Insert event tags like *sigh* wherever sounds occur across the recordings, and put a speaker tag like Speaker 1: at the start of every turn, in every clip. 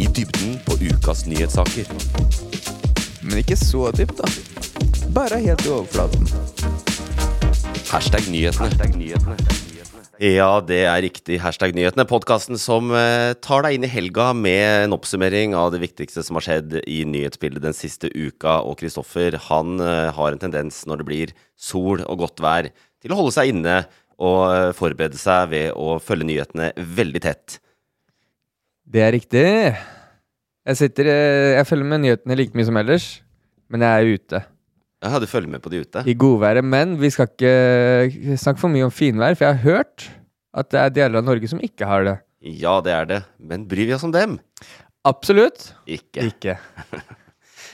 Speaker 1: I dybden på ukas nyhetssaker.
Speaker 2: Men ikke så dypt, da. Bare helt i overflaten.
Speaker 1: Hashtag nyhetene. Ja, det er riktig. Hashtag nyhetene. Podkasten som eh, tar deg inn i helga med en oppsummering av det viktigste som har skjedd i nyhetsbildet den siste uka. Og Kristoffer han eh, har en tendens når det blir sol og godt vær, til å holde seg inne og eh, forberede seg ved å følge nyhetene veldig tett.
Speaker 2: Det er riktig. Jeg sitter eh, Jeg følger med nyhetene like mye som ellers, men jeg er ute.
Speaker 1: Ja, du følger med på de ute?
Speaker 2: I godværet. Men vi skal ikke eh, snakke for mye om finvær, for jeg har hørt at det er deler av Norge som ikke har det.
Speaker 1: Ja, det er det. Men bryr vi oss om dem?
Speaker 2: Absolutt
Speaker 1: Ikke.
Speaker 2: ikke.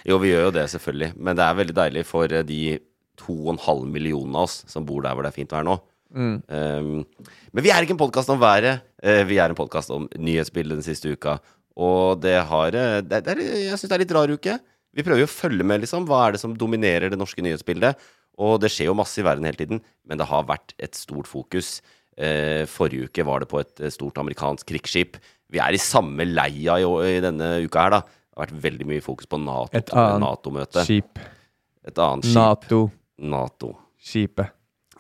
Speaker 1: Jo, vi gjør jo det, selvfølgelig. Men det er veldig deilig for eh, de 2,5 millionene av oss som bor der hvor det er fint vær nå.
Speaker 2: Mm.
Speaker 1: Um, men vi er ikke en podkast om været. eh, vi er en podkast om nyhetsbildet den siste uka. Og det har eh, det, det er, Jeg syns det er litt rar uke. Vi prøver jo å følge med, liksom. Hva er det som dominerer det norske nyhetsbildet? Og det skjer jo masse i verden hele tiden, men det har vært et stort fokus. Eh, forrige uke var det på et eh, stort amerikansk krigsskip. Vi er i samme leia i, å- i denne uka her, da. Det har vært veldig mye fokus på NATO-
Speaker 2: Et annet
Speaker 1: Nato-møte.
Speaker 2: Skip.
Speaker 1: Et annet skip.
Speaker 2: Nato-skipet.
Speaker 1: NATO.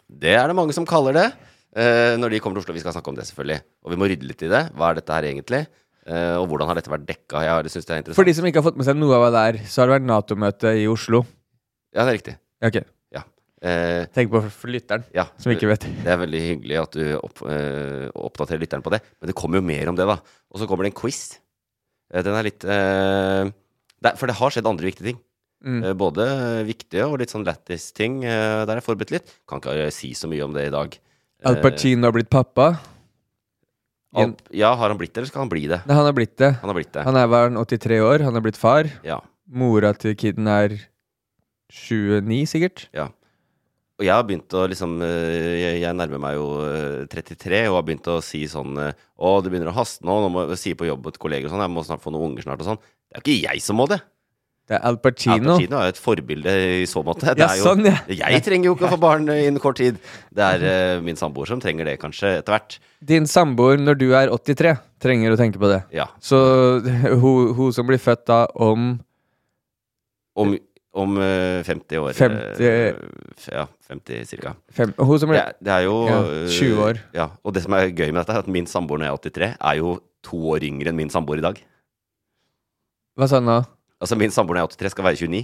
Speaker 1: Det er det mange som kaller det eh, når de kommer til Oslo. Vi skal snakke om det, selvfølgelig. Og vi må rydde litt i det. Hva er dette her egentlig? Eh, og hvordan har dette vært dekka? Jeg har- synes det er interessant.
Speaker 2: For de som ikke har fått med seg noe av det der, så har det vært Nato-møte i Oslo.
Speaker 1: Ja, det er riktig.
Speaker 2: Ok,
Speaker 1: Eh,
Speaker 2: Tenk på for lytteren
Speaker 1: ja.
Speaker 2: som ikke vet.
Speaker 1: Det er veldig hyggelig at du opp, eh, oppdaterer lytteren på det. Men det kommer jo mer om det, da. Og så kommer det en quiz. Eh, den er litt eh, det er, For det har skjedd andre viktige ting.
Speaker 2: Mm.
Speaker 1: Eh, Både viktige og litt sånn lættis ting. eh, Der er jeg forberedt litt. Kan ikke eh, si så mye om det i dag.
Speaker 2: Al Pacino har blitt pappa.
Speaker 1: Eh, Al- ja, har han blitt det, eller skal han bli det?
Speaker 2: Nei, han har blitt det.
Speaker 1: Han har blitt det.
Speaker 2: Han er var han 83 år, han har blitt far.
Speaker 1: Ja.
Speaker 2: Mora til kiden er 29, sikkert.
Speaker 1: Og jeg har begynt å liksom eh, Jeg, jeg nærmer meg jo eh, 33 og har begynt å si sånn eh, Å, det begynner å haste nå, nå må jeg si på jobb til kolleger og sånn, jeg må snart få noen unger snart og sånn. Det er jo ikke jeg som må det.
Speaker 2: Det er Al
Speaker 1: Al
Speaker 2: Pacino.
Speaker 1: Pacino er jo et forbilde i så måte. Det
Speaker 2: Ja,
Speaker 1: er jo,
Speaker 2: sånn, ja.
Speaker 1: Jeg trenger jo ikke å få barn eh, innen kort tid. Det er eh, min samboer som trenger det, kanskje, etter hvert.
Speaker 2: Din samboer når du er 83, trenger å tenke på det.
Speaker 1: Ja.
Speaker 2: Så *laughs* hun, hun som blir født da om
Speaker 1: Om, om eh, 50 år.
Speaker 2: 50
Speaker 1: eh, f- Ja, 50 cirka.
Speaker 2: fem, Hun som
Speaker 1: Det,
Speaker 2: blir
Speaker 1: er- det er jo
Speaker 2: Ja,
Speaker 1: øh,
Speaker 2: 20 år.
Speaker 1: Ja, og det som er gøy med dette, er at min samboer når jeg er 83, er jo to år yngre enn min samboer i dag.
Speaker 2: Hva sa han nå?
Speaker 1: Altså min samboer når jeg er 83, skal være 29.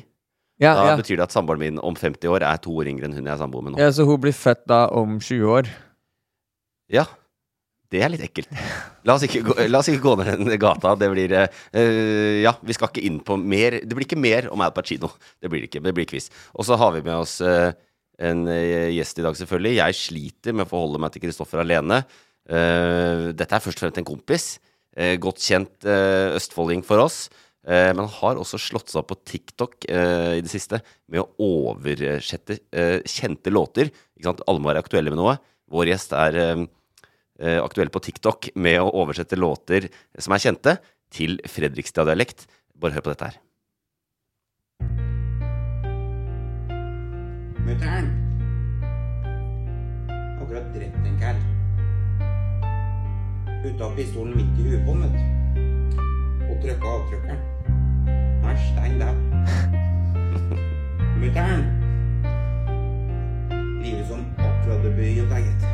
Speaker 2: Ja,
Speaker 1: Da
Speaker 2: ja.
Speaker 1: betyr det at samboeren min om 50 år er to år yngre enn hun jeg er samboer med nå.
Speaker 2: ja, så hun blir født da om 20 år.
Speaker 1: Ja. Det er litt ekkelt. La oss ikke gå, la oss ikke gå ned den gata. Det blir eh, eh, Ja, vi skal ikke inn på mer. Det blir ikke mer om Al Pacino. Det blir det ikke. Det blir quiz. Og så har vi med oss eh, en eh, gjest i dag, selvfølgelig. Jeg sliter med å forholde meg til Kristoffer alene. Eh, dette er først og fremst en kompis. Eh, godt kjent eh, østfolding for oss. Eh, men han har også slått seg opp på TikTok eh, i det siste med å oversette eh, kjente låter. Ikke sant? Alle må være aktuelle med noe. Vår gjest er eh, eh, aktuell på TikTok med å oversette låter som er kjente, til Fredrikstad-dialekt. Bare hør på dette her.
Speaker 3: Mutter'n. Akkurat drept en kær. Putta pistolen midt i huet på han, vet du. Og trykka avtrykkeren. Han er stein *laughs* dau. Mutter'n. Livet som akkurat det bøyer deg, gitt.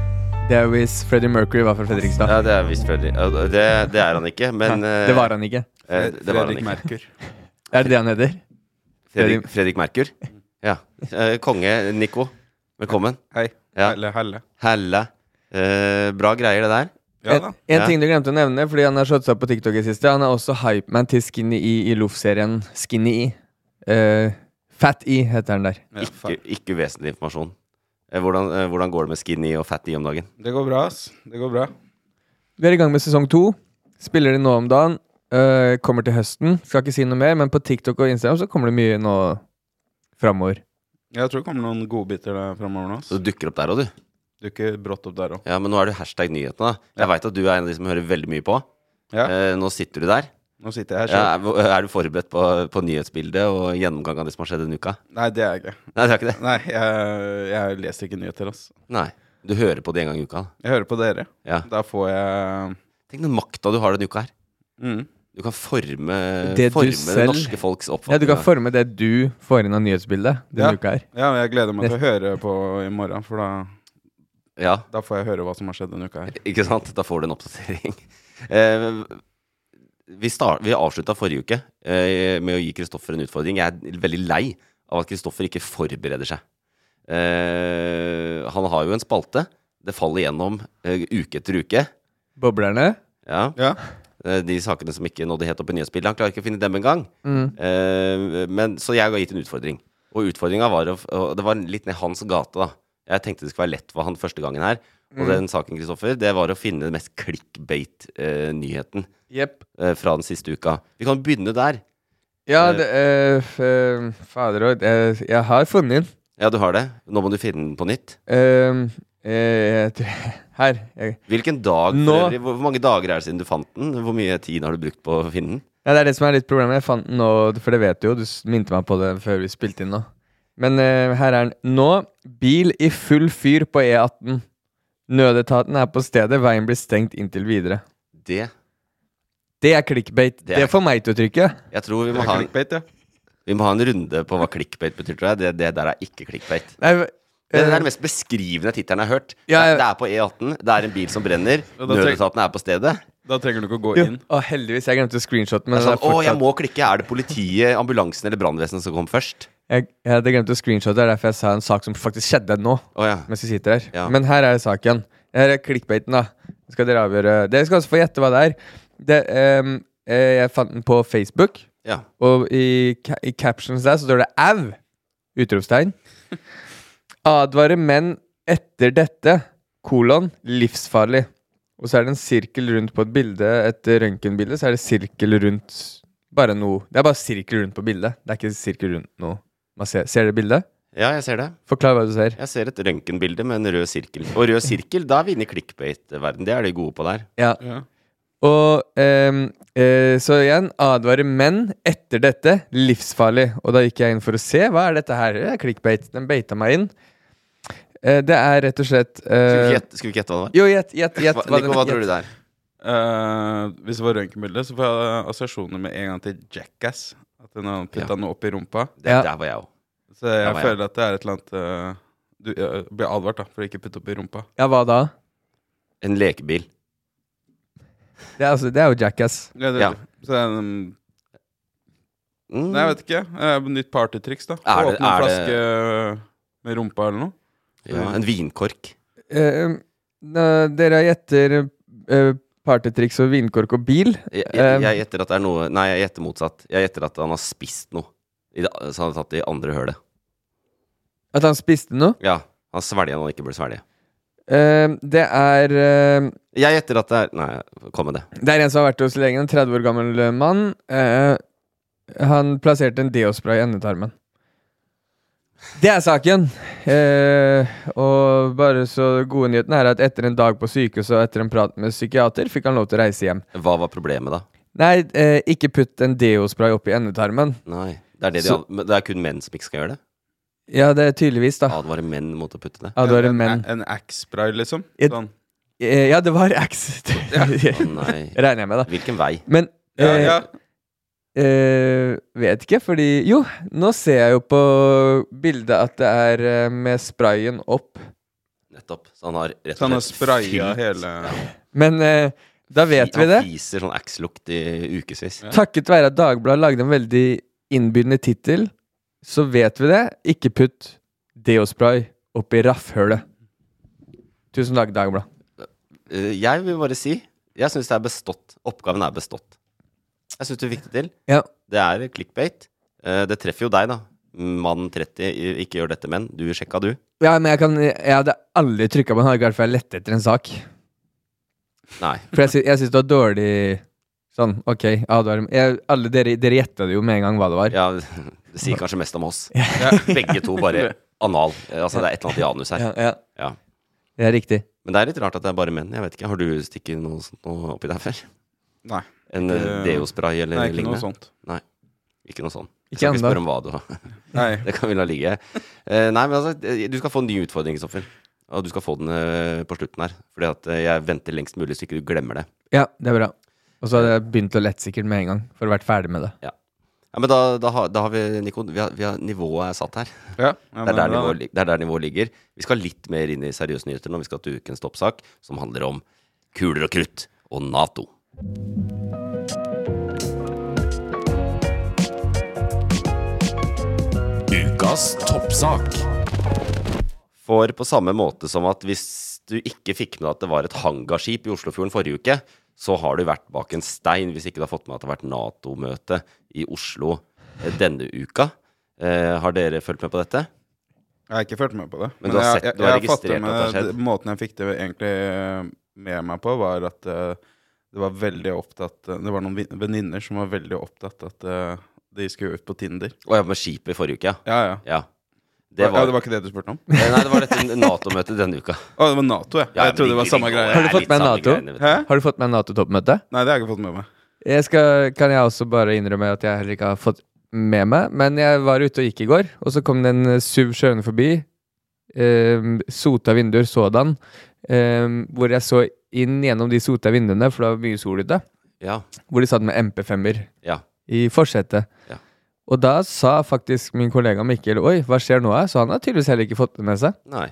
Speaker 2: Det er hvis Freddie Mercury var fra Fredrikstad.
Speaker 1: Ja, det er visst Freddy. Ja, Det, det er han ikke, men
Speaker 2: Nei, det var han ikke.
Speaker 1: eh, det var han
Speaker 4: Fredrik
Speaker 1: ikke.
Speaker 4: Merkur.
Speaker 2: Er det det han heter?
Speaker 1: Fredrik, Fredrik Merkur. Ja. Eh, Konge Nico, velkommen.
Speaker 4: Hei.
Speaker 1: Ja.
Speaker 4: Helle, helle.
Speaker 1: Helle. Eh, bra greier, det der.
Speaker 4: Ja
Speaker 2: en
Speaker 4: da.
Speaker 2: en
Speaker 1: Ja.
Speaker 2: ting du glemte å nevne, fordi han har slått seg opp på TikTok i det siste. Han er også hypeman til Skinny E i Loff-serien Skinny E. Eh, Fat E heter han der.
Speaker 4: Ja,
Speaker 1: Ikke,
Speaker 4: faen.
Speaker 1: ikke uvesentlig informasjon. Eh, Hvordan, eh, hvordan går det med skinny og fatty om dagen?
Speaker 4: Det går bra, ass. Det går bra.
Speaker 2: Vi er i gang med sesong to. Spiller de nå om dagen. Eh, kommer til høsten. Skal ikke si noe mer, men på TikTok og Instagram så kommer det mye nå framover.
Speaker 4: Jeg tror det kommer noen godbiter der framover nå. ass.
Speaker 1: Så du dukker opp der òg, du.
Speaker 4: Dukker brått opp der òg.
Speaker 1: Ja, Men nå er du hashtag nyhetene. da. Jeg veit at du er en av de som hører veldig mye på.
Speaker 4: Ja.
Speaker 1: Eh, nå sitter du der.
Speaker 4: Nå sitter jeg her
Speaker 1: Ja,
Speaker 4: selv.
Speaker 1: er, er du forberedt på, på nyhetsbildet og gjennomgang av det som har skjedd denne uka? *laughs*
Speaker 4: Nei, det er jeg ikke.
Speaker 1: Nei, det er ikke det.
Speaker 4: Nei, jeg, jeg leser ikke nyheter, altså. ass.
Speaker 1: Nei. Du hører på det en gang i uka. da.
Speaker 4: Jeg hører på dere.
Speaker 1: Ja.
Speaker 4: Da får jeg
Speaker 1: Tenk den makta du har denne uka her.
Speaker 4: mm.
Speaker 1: Du kan forme
Speaker 2: Det
Speaker 1: det,
Speaker 2: du
Speaker 1: forme det
Speaker 2: selv-
Speaker 1: norske folks
Speaker 2: Ja,
Speaker 1: oppfatning.
Speaker 2: du kan forme det du får inn av nyhetsbildet denne
Speaker 4: Ja.
Speaker 2: uka her.
Speaker 4: Ja, men jeg gleder meg til å høre på i morgen, for da,
Speaker 1: ja,
Speaker 4: da får jeg høre hva som har skjedd denne uka her.
Speaker 1: *laughs* ikke sant? Da får du en oppdatering. *laughs* Eh, vi start, vi avslutta forrige uke eh, med å gi Kristoffer en utfordring. Jeg er veldig lei av at Kristoffer ikke forbereder seg. Eh, han har jo en spalte. Det faller gjennom eh, uke etter uke.
Speaker 2: Boblerne.
Speaker 1: Ja.
Speaker 4: Ja.
Speaker 1: Eh, de sakene som ikke nådde helt opp i nyhetsbildet. Han klarer ikke å finne dem engang.
Speaker 4: Mm.
Speaker 1: Eh, men, så jeg har gitt en utfordring. Og utfordringa var å f- og Det var litt ned hans gate, da. Jeg tenkte det skulle være lett for han første gangen her. Og den
Speaker 4: Mm.
Speaker 1: saken, Kristoffer, det var å finne den mest clickbait-nyheten
Speaker 2: Jepp.
Speaker 1: eh, fra den siste uka. Vi kan begynne der.
Speaker 2: Ja,
Speaker 1: Eh.
Speaker 2: det eh, f- eh, Fader òg. eh, jeg har funnet den.
Speaker 1: Ja, du har det. Nå må du finne den på nytt.
Speaker 2: Ehm, eh, jeg tror- *laughs* her. Jeg,
Speaker 1: Hvilken dag for
Speaker 2: Nå-
Speaker 1: øvrig? Hvor hvor mange dager er det siden du fant den? Hvor mye tid har du brukt på å finne den?
Speaker 2: ja, det er det som er litt problemet. Jeg fant den nå, for det vet du jo. Du s- minte meg på det før vi spilte inn nå. Men eh, her er den. Nå bil i full fyr på E18. Nødetaten er på stedet. Veien blir stengt inntil videre.
Speaker 1: Det
Speaker 2: Det er clickbait.
Speaker 1: Det
Speaker 2: Det,
Speaker 1: er-
Speaker 2: får meg til å trykke.
Speaker 1: Jeg tror vi
Speaker 4: Det
Speaker 1: må,
Speaker 4: er
Speaker 1: ha en,
Speaker 4: clickbait, ja.
Speaker 1: vi må ha en runde på hva clickbait betyr, tror jeg. Det, det der er ikke clickbait.
Speaker 2: Nei,
Speaker 1: Det er
Speaker 2: eh,
Speaker 1: den mest beskrivende tittelen jeg har hørt.
Speaker 2: Ja, ja.
Speaker 1: Det er på E18, det er en bil som brenner,
Speaker 4: da tenk-
Speaker 1: nødetaten er på stedet.
Speaker 4: Da trenger du ikke å gå
Speaker 2: jo,
Speaker 4: inn.
Speaker 2: å, heldigvis. Jeg glemte screenshoten.
Speaker 1: Det
Speaker 2: Men
Speaker 1: er
Speaker 2: den
Speaker 1: sånn,
Speaker 2: er
Speaker 1: å, jeg
Speaker 2: fortsatt-
Speaker 1: må klikke. Er det politiet, ambulansen eller brannvesenet som kom først?
Speaker 2: Jeg, jeg hadde glemt å screenshotte, det er derfor jeg sa en sak som faktisk skjedde nå.
Speaker 1: Å ja.
Speaker 2: Mens vi sitter her.
Speaker 1: Ja.
Speaker 2: Men her er saken. Her er clickbaiten, da. Nå Skal dere avgjøre Dere skal også få gjette hva det er. Det, ehm, eh, jeg fant den på Facebook,
Speaker 1: ja.
Speaker 2: og i, ca i captions der så står det 'au!' Utropstegn. Advare menn etter dette. Kolon. Livsfarlig. Og så er det en sirkel rundt på et bilde. Et røntgenbilde, så er det sirkel rundt Bare noe. Det er bare sirkel rundt på bildet. Det er ikke sirkel rundt noe. Man ser, ser dere bildet?
Speaker 1: Ja, jeg ser det.
Speaker 2: Forklar hva du ser.
Speaker 1: Jeg ser et røntgenbilde med en rød sirkel. Og rød sirkel, da er vi inne i clickbait-verden. Det er de gode på der.
Speaker 2: Ja.
Speaker 4: Ja.
Speaker 2: Og ehm, eh, så igjen, advarer menn etter dette. Livsfarlig. Og da gikk jeg inn for å se. Hva er dette her? Det er clickbait. Den beita meg inn. Eh, det er rett og slett
Speaker 1: Skal vi
Speaker 2: eh,
Speaker 1: ikke gjette- skal vi ikke gjette hva det var?
Speaker 2: Jo, gjett, gjett, gjett.
Speaker 1: Hva, Nico,
Speaker 2: den-
Speaker 1: hva tror
Speaker 2: gjett.
Speaker 1: du det er?
Speaker 4: Eh, hvis det var røntgenbilde, så får jeg assosiasjoner med en gang til Jackass. At den har
Speaker 1: Ja.
Speaker 4: putta noe opp i rumpa.
Speaker 1: Det,
Speaker 2: Ja.
Speaker 1: Der var jeg òg.
Speaker 4: Så jeg
Speaker 1: Ja, ja.
Speaker 4: føler at det er et eller annet eh, Du eh, blir advart da for å ikke putte opp i rumpa.
Speaker 2: Ja, hva da?
Speaker 1: En lekebil.
Speaker 2: Det er, altså, det er jo Jackass.
Speaker 4: Ja, det,
Speaker 1: Ja.
Speaker 4: Så det er en,
Speaker 1: Mm.
Speaker 4: Nei, jeg vet ikke. eh, nytt partytriks, da.
Speaker 1: Er det-
Speaker 4: Åpne en
Speaker 1: er det-
Speaker 4: flaske eh, med rumpa eller noe.
Speaker 1: ja, en vinkork.
Speaker 2: Eh, nå, dere gjetter eh, partytriks og vinkork og bil.
Speaker 1: Jeg, jeg,
Speaker 2: Um.
Speaker 1: jeg gjetter at det er noe Nei, jeg gjetter motsatt. Jeg gjetter at han har spist noe. I det, så han har tatt det i andre hølet.
Speaker 2: At han spiste noe.
Speaker 1: Ja. Han svelger når han ikke burde svelge.
Speaker 2: Eh, det er eh,
Speaker 1: Jeg gjetter at det er Nei, kom med det.
Speaker 2: Det er en som har vært hos legen, en 30 år gammel eh, mann. Eh, han plasserte en deospray i endetarmen. Det er saken! Eh, og bare så gode nyheten er at etter en dag på sykehuset og etter en prat med psykiater, fikk han lov til å reise hjem.
Speaker 1: Hva var problemet, da?
Speaker 2: Nei, eh, ikke putt en deospray oppi endetarmen.
Speaker 1: Nei, det er, det, de,
Speaker 2: Så-
Speaker 1: ad- men det er kun menn som ikke skal gjøre det.
Speaker 2: Ja, det er tydeligvis, da.
Speaker 1: Advare menn mot å putte det.
Speaker 2: Advarer
Speaker 4: en,
Speaker 2: menn.
Speaker 4: En axe-spray, liksom.
Speaker 2: Et-
Speaker 4: Sånn.
Speaker 2: Eh, Ja, det var *laughs* X.
Speaker 1: Å
Speaker 2: Regner
Speaker 1: nei.
Speaker 4: *laughs*
Speaker 2: jeg med, da.
Speaker 1: Hvilken vei?
Speaker 2: Men
Speaker 4: Ja,
Speaker 2: eh,
Speaker 4: ja.
Speaker 2: Eh, vet ikke, fordi Jo, nå ser jeg jo på bildet at det er eh, med sprayen opp.
Speaker 1: Nettopp. Så han har rett og
Speaker 4: Så han har
Speaker 1: slett
Speaker 4: spraya
Speaker 1: fylt-
Speaker 4: Sånn hele
Speaker 2: Men eh, da vet vi det.
Speaker 1: Han fiser sånn Axe-lukt i ukevis.
Speaker 2: Takket være at Dagbladet lagde en veldig innbydende tittel, så vet vi det. Ikke putt deospray oppi raffhølet. Tusen takk, Dagbladet.
Speaker 1: Eh, Jeg vil bare si Jeg syns det er bestått. Oppgaven er bestått. Jeg syns du fikk det til.
Speaker 2: Ja.
Speaker 1: Det er clickbait. Eh, Det treffer jo deg, da. Mann 30, i- ikke gjør dette, menn. Du sjekka, du.
Speaker 2: ja, men jeg, kan, jeg hadde aldri trykka på en hagegard før jeg lette etter en sak.
Speaker 1: Nei.
Speaker 2: For jeg, sy- jeg syns det var dårlig sånn, OK, advaring. Jeg, alle dere dere gjetta det jo med en gang hva det var.
Speaker 1: Ja, *laughs* det sier kanskje mest om oss. *laughs* Begge to
Speaker 2: *laughs*
Speaker 1: bare anal. Eh, Altså, det er et eller annet i anus her.
Speaker 2: ja.
Speaker 1: Ja.
Speaker 2: Det er riktig.
Speaker 1: Men det er litt rart at det er bare menn. Jeg vet ikke, Har du stikket noe sånt noe oppi der før?
Speaker 4: Nei.
Speaker 1: En eh,
Speaker 4: Eh,
Speaker 1: deospray eller
Speaker 4: Nei, ikke
Speaker 1: lignende?
Speaker 4: noe sånt.
Speaker 1: Ikke noe sånt. Jeg
Speaker 2: Ikke
Speaker 1: skal ikke
Speaker 2: ennå.
Speaker 1: spørre om hva du har. *laughs*
Speaker 4: Nei.
Speaker 1: Det kan vi la ligge. Eh, nei, men altså, eh, du skal få en ny utfordring, Kristoffer. Og du skal få den eh, på slutten her. Fordi at eh, jeg venter lengst mulig, så ikke du glemmer det.
Speaker 2: Ja, det er bra. Og så hadde jeg begynt å lette sikkert med en gang, for å vært ferdig med det.
Speaker 1: Ja, men da, da, har, da har vi, Nico, vi har, vi har, nivået er satt her.
Speaker 4: Ja,
Speaker 1: Det
Speaker 4: ja, men
Speaker 1: er, der
Speaker 4: da-
Speaker 1: nivået, lig- det er der nivået ligger. Vi skal litt mer inn i seriøse nyheter når vi skal til ukens toppsak, som handler om kuler og krutt og Nato.
Speaker 5: Ukas toppsak.
Speaker 1: For på samme måte som at hvis du ikke fikk med deg at det var et hangarskip i Oslofjorden forrige uke, så har du vært bak en stein hvis ikke du har fått med deg at det har vært Nato-møte i Oslo eh, denne uka. Eh, har dere fulgt med på dette?
Speaker 4: Jeg har ikke fulgt med på det.
Speaker 1: Men du har
Speaker 4: jeg,
Speaker 1: sett- du
Speaker 4: jeg,
Speaker 1: har
Speaker 4: jeg fatter
Speaker 1: registrert
Speaker 4: med
Speaker 1: at det har skjedd?
Speaker 4: d- Måten jeg fikk det egentlig eh, med meg på, var at eh, det var veldig opptatt Det var noen vin- venninner som var veldig opptatt at eh, de skulle ut på Tinder.
Speaker 1: Å ja, med skipet i forrige uke, ja.
Speaker 4: Ja, ja.
Speaker 1: ja.
Speaker 4: Det var,
Speaker 1: det
Speaker 4: ja, det var ikke det du spurte om?
Speaker 1: Nei, det var dette Nato-møtet denne
Speaker 4: *laughs*
Speaker 1: uka.
Speaker 4: Å, det var Nato, ja.
Speaker 1: Ja,
Speaker 4: jeg trodde det var samme greie.
Speaker 2: Har du fått med Nato?
Speaker 4: Hæ?
Speaker 2: Har du fått med Nato-toppmøtet?
Speaker 4: Nei, det har jeg ikke fått med meg.
Speaker 2: Jeg skal, kan jeg også bare innrømme at jeg heller ikke har fått med meg, men jeg var ute og gikk i går, og så kom det en eh, SUV kjørende forbi. ehm, sota vinduer sådan. ehm, hvor jeg så inn gjennom de sota vinduene, for det var mye sol ute.
Speaker 1: Ja.
Speaker 2: Hvor de satt med MP5-er
Speaker 1: ja.
Speaker 2: i forsetet.
Speaker 1: Ja.
Speaker 2: Og da sa faktisk min kollega Mikkel Oi, hva skjer nå? her?» Så han har tydeligvis heller ikke fått det med seg.
Speaker 1: Nei.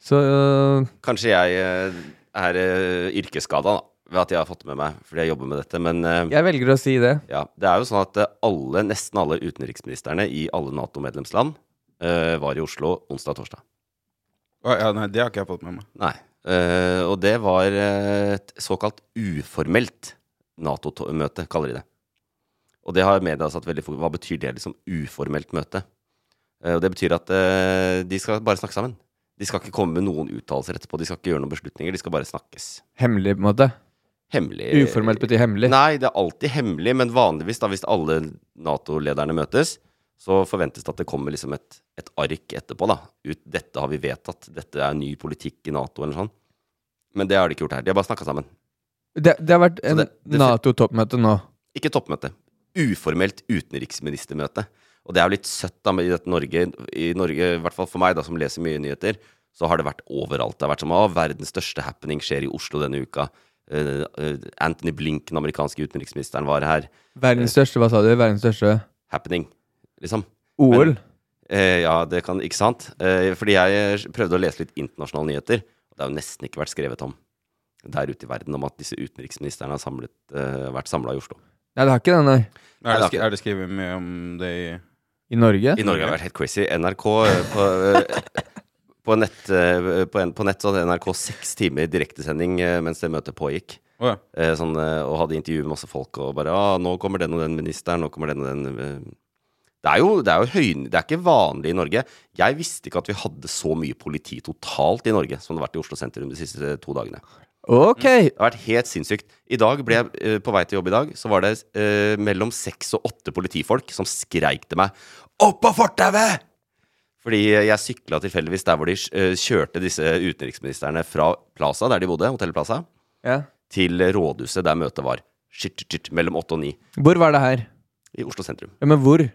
Speaker 2: Så øh,
Speaker 1: Kanskje jeg eh, er uh, yrkesskada, da. Ved at jeg har fått det med meg fordi jeg jobber med dette. Men eh,
Speaker 2: jeg velger å si det.
Speaker 1: Ja, det er jo sånn at eh, alle, nesten alle utenriksministerne i alle NATO-medlemsland eh, var i Oslo onsdag og torsdag.
Speaker 4: Å, ja, nei, det har ikke jeg fått med meg.
Speaker 1: Nei. Eh, og det var eh, et såkalt uformelt Nato-møte, kaller de det. Og det har media satt veldig fokus Hva betyr det, liksom? Uformelt møte. Eh, og det betyr at eh, de skal bare snakke sammen. De skal ikke komme med noen uttalelser etterpå. De skal ikke gjøre noen beslutninger. De skal bare snakkes.
Speaker 2: Hemmelig, på en måte.
Speaker 1: Hemmelig.
Speaker 2: Uformelt betyr hemmelig.
Speaker 1: Eh, Nei, det er alltid hemmelig, men vanligvis da, hvis alle Nato-lederne møtes, så forventes det at det kommer liksom et, et ark etterpå, da. Ut, dette har vi vedtatt, dette er ny politikk i Nato, eller sånn. Men det har de ikke gjort her. De har bare snakka sammen.
Speaker 2: Det, det har vært en
Speaker 1: det- det-
Speaker 2: Nato-toppmøte nå.
Speaker 1: Ikke toppmøte. Uformelt utenriksministermøte. Og det er jo litt søtt, da, med i dette Norge, i Norge, i hvert fall for meg, da, som leser mye nyheter, så har det vært overalt. Det har vært som å, verdens største happening skjer i Oslo denne uka. Eh, eh, Anthony Blink, den amerikanske utenriksministeren, var her.
Speaker 2: Verdens
Speaker 1: Eh.
Speaker 2: største, hva sa du? Verdens største
Speaker 1: Happening, liksom.
Speaker 2: OL?
Speaker 1: Eh, ja, det kan, ikke sant? Eh, fordi jeg prøvde å lese litt internasjonale nyheter, og det har jo nesten ikke vært skrevet om der ute i verden om at disse utenriksministrene har samlet, eh, vært samla i Oslo.
Speaker 2: Nei, det har ikke det, nei.
Speaker 4: Er det,
Speaker 1: det har
Speaker 4: sk-
Speaker 1: ikke-
Speaker 4: er det skrevet mye om det i
Speaker 2: I Norge?
Speaker 1: I Norge har det vært helt crazy. NRK eh, på, eh, på, nett, eh, på, en, på nett så hadde NRK seks timer direktesending eh, mens det møtet pågikk.
Speaker 4: Å ja.
Speaker 1: eh, sånn, eh, og hadde intervju med masse folk og bare ah, 'Nå kommer den og den ministeren, nå kommer den og den eh. Det er jo, det er jo høyn, det er ikke vanlig i Norge. Jeg visste ikke at vi hadde så mye politi totalt i Norge som det har vært i Oslo sentrum de siste eh, to dagene.
Speaker 2: Ok!
Speaker 1: Det har vært helt sinnssykt. I dag ble jeg eh, på vei til jobb i dag, så var det eh, mellom seks og åtte politifolk som skreik til meg 'Opp på fortauet!' Fordi jeg sykla tilfeldigvis der hvor de eh, kjørte disse utenriksministrene fra Plaza, der de bodde, Hotell Plaza
Speaker 2: Ja.
Speaker 1: til rådhuset der møtet var. Shit, shit, shit, mellom åtte og ni
Speaker 2: Hvor var det her?
Speaker 1: i Oslo sentrum.
Speaker 2: Ja, men hvor?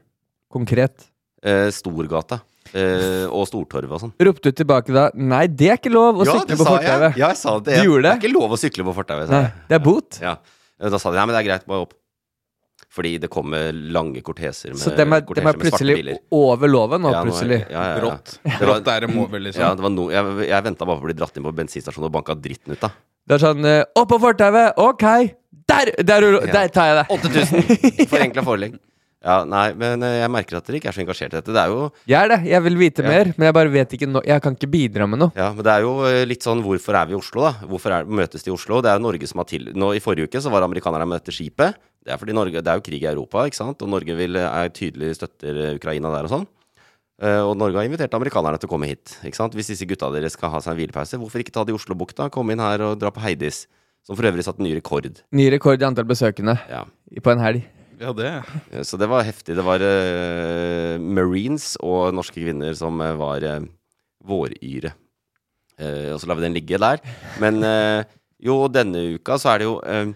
Speaker 2: Konkret.
Speaker 1: Eh, Storgata eh, og Stortorvet og sånn.
Speaker 2: Ropte du tilbake da Nei, det er ikke lov å sykle på fortauet!
Speaker 1: Ja, jeg sa det.
Speaker 2: Du gjorde det?
Speaker 1: Det er ikke lov å sykle på fortauet, sa
Speaker 2: Nei,
Speaker 1: jeg.
Speaker 2: det er bot.
Speaker 1: Ja. Eh, Da sa de nei, men det er greit, bare opp. Fordi det kommer lange korteser med,
Speaker 2: Så dem er,
Speaker 1: korteser
Speaker 2: dem er
Speaker 1: med svarte
Speaker 2: plutselig
Speaker 1: biler.
Speaker 2: over loven nå,
Speaker 1: Ja, nå er-
Speaker 2: plutselig.
Speaker 1: Ja, ja, ja.
Speaker 4: Rått.
Speaker 1: Det var-
Speaker 4: Rått er det må vel, liksom.
Speaker 1: Ja, det var no, jeg jeg venta bare på å bli dratt inn på bensinstasjonen og banka dritten
Speaker 2: *laughs*
Speaker 1: ut av.
Speaker 2: Det er sånn eh, Opp på fortauet! Ok! Der, der, er du-
Speaker 1: Ja.
Speaker 2: der tar jeg det!
Speaker 1: 8000 for enkle forelegg. Ja, nei, men eh, jeg merker at dere ikke er så engasjert i dette. Det er jo,
Speaker 2: Jeg er det. Jeg vil vite
Speaker 1: Ja.
Speaker 2: mer, men jeg bare vet ikke no Jeg kan ikke bidra med noe.
Speaker 1: ja, men det er jo eh, litt sånn hvorfor er vi i Oslo, da? Hvorfor er, møtes de i Oslo? Det er jo Norge som har til nå, I forrige uke så var amerikanerne med dette skipet. Det er fordi Norge, det er jo krig i Europa, ikke sant? Og Norge vil, eh, er tydelig støtter eh, Ukraina der og sånn. Eh, og Norge har invitert amerikanerne til å komme hit. ikke sant? Hvis disse gutta deres skal ha seg en hvilepause, hvorfor ikke ta det i Oslobukta? Komme inn her og dra på Heidis, som for øvrig satte ny rekord.
Speaker 2: Ny rekord i antall besøkende
Speaker 1: Ja.
Speaker 2: på en helg.
Speaker 4: Ja, det
Speaker 1: Eh, Så det var heftig. Det var eh, Marines og norske kvinner som eh, var eh, våryre. Eh, og så lar vi den ligge der. Men eh, jo, denne uka så er det jo eh,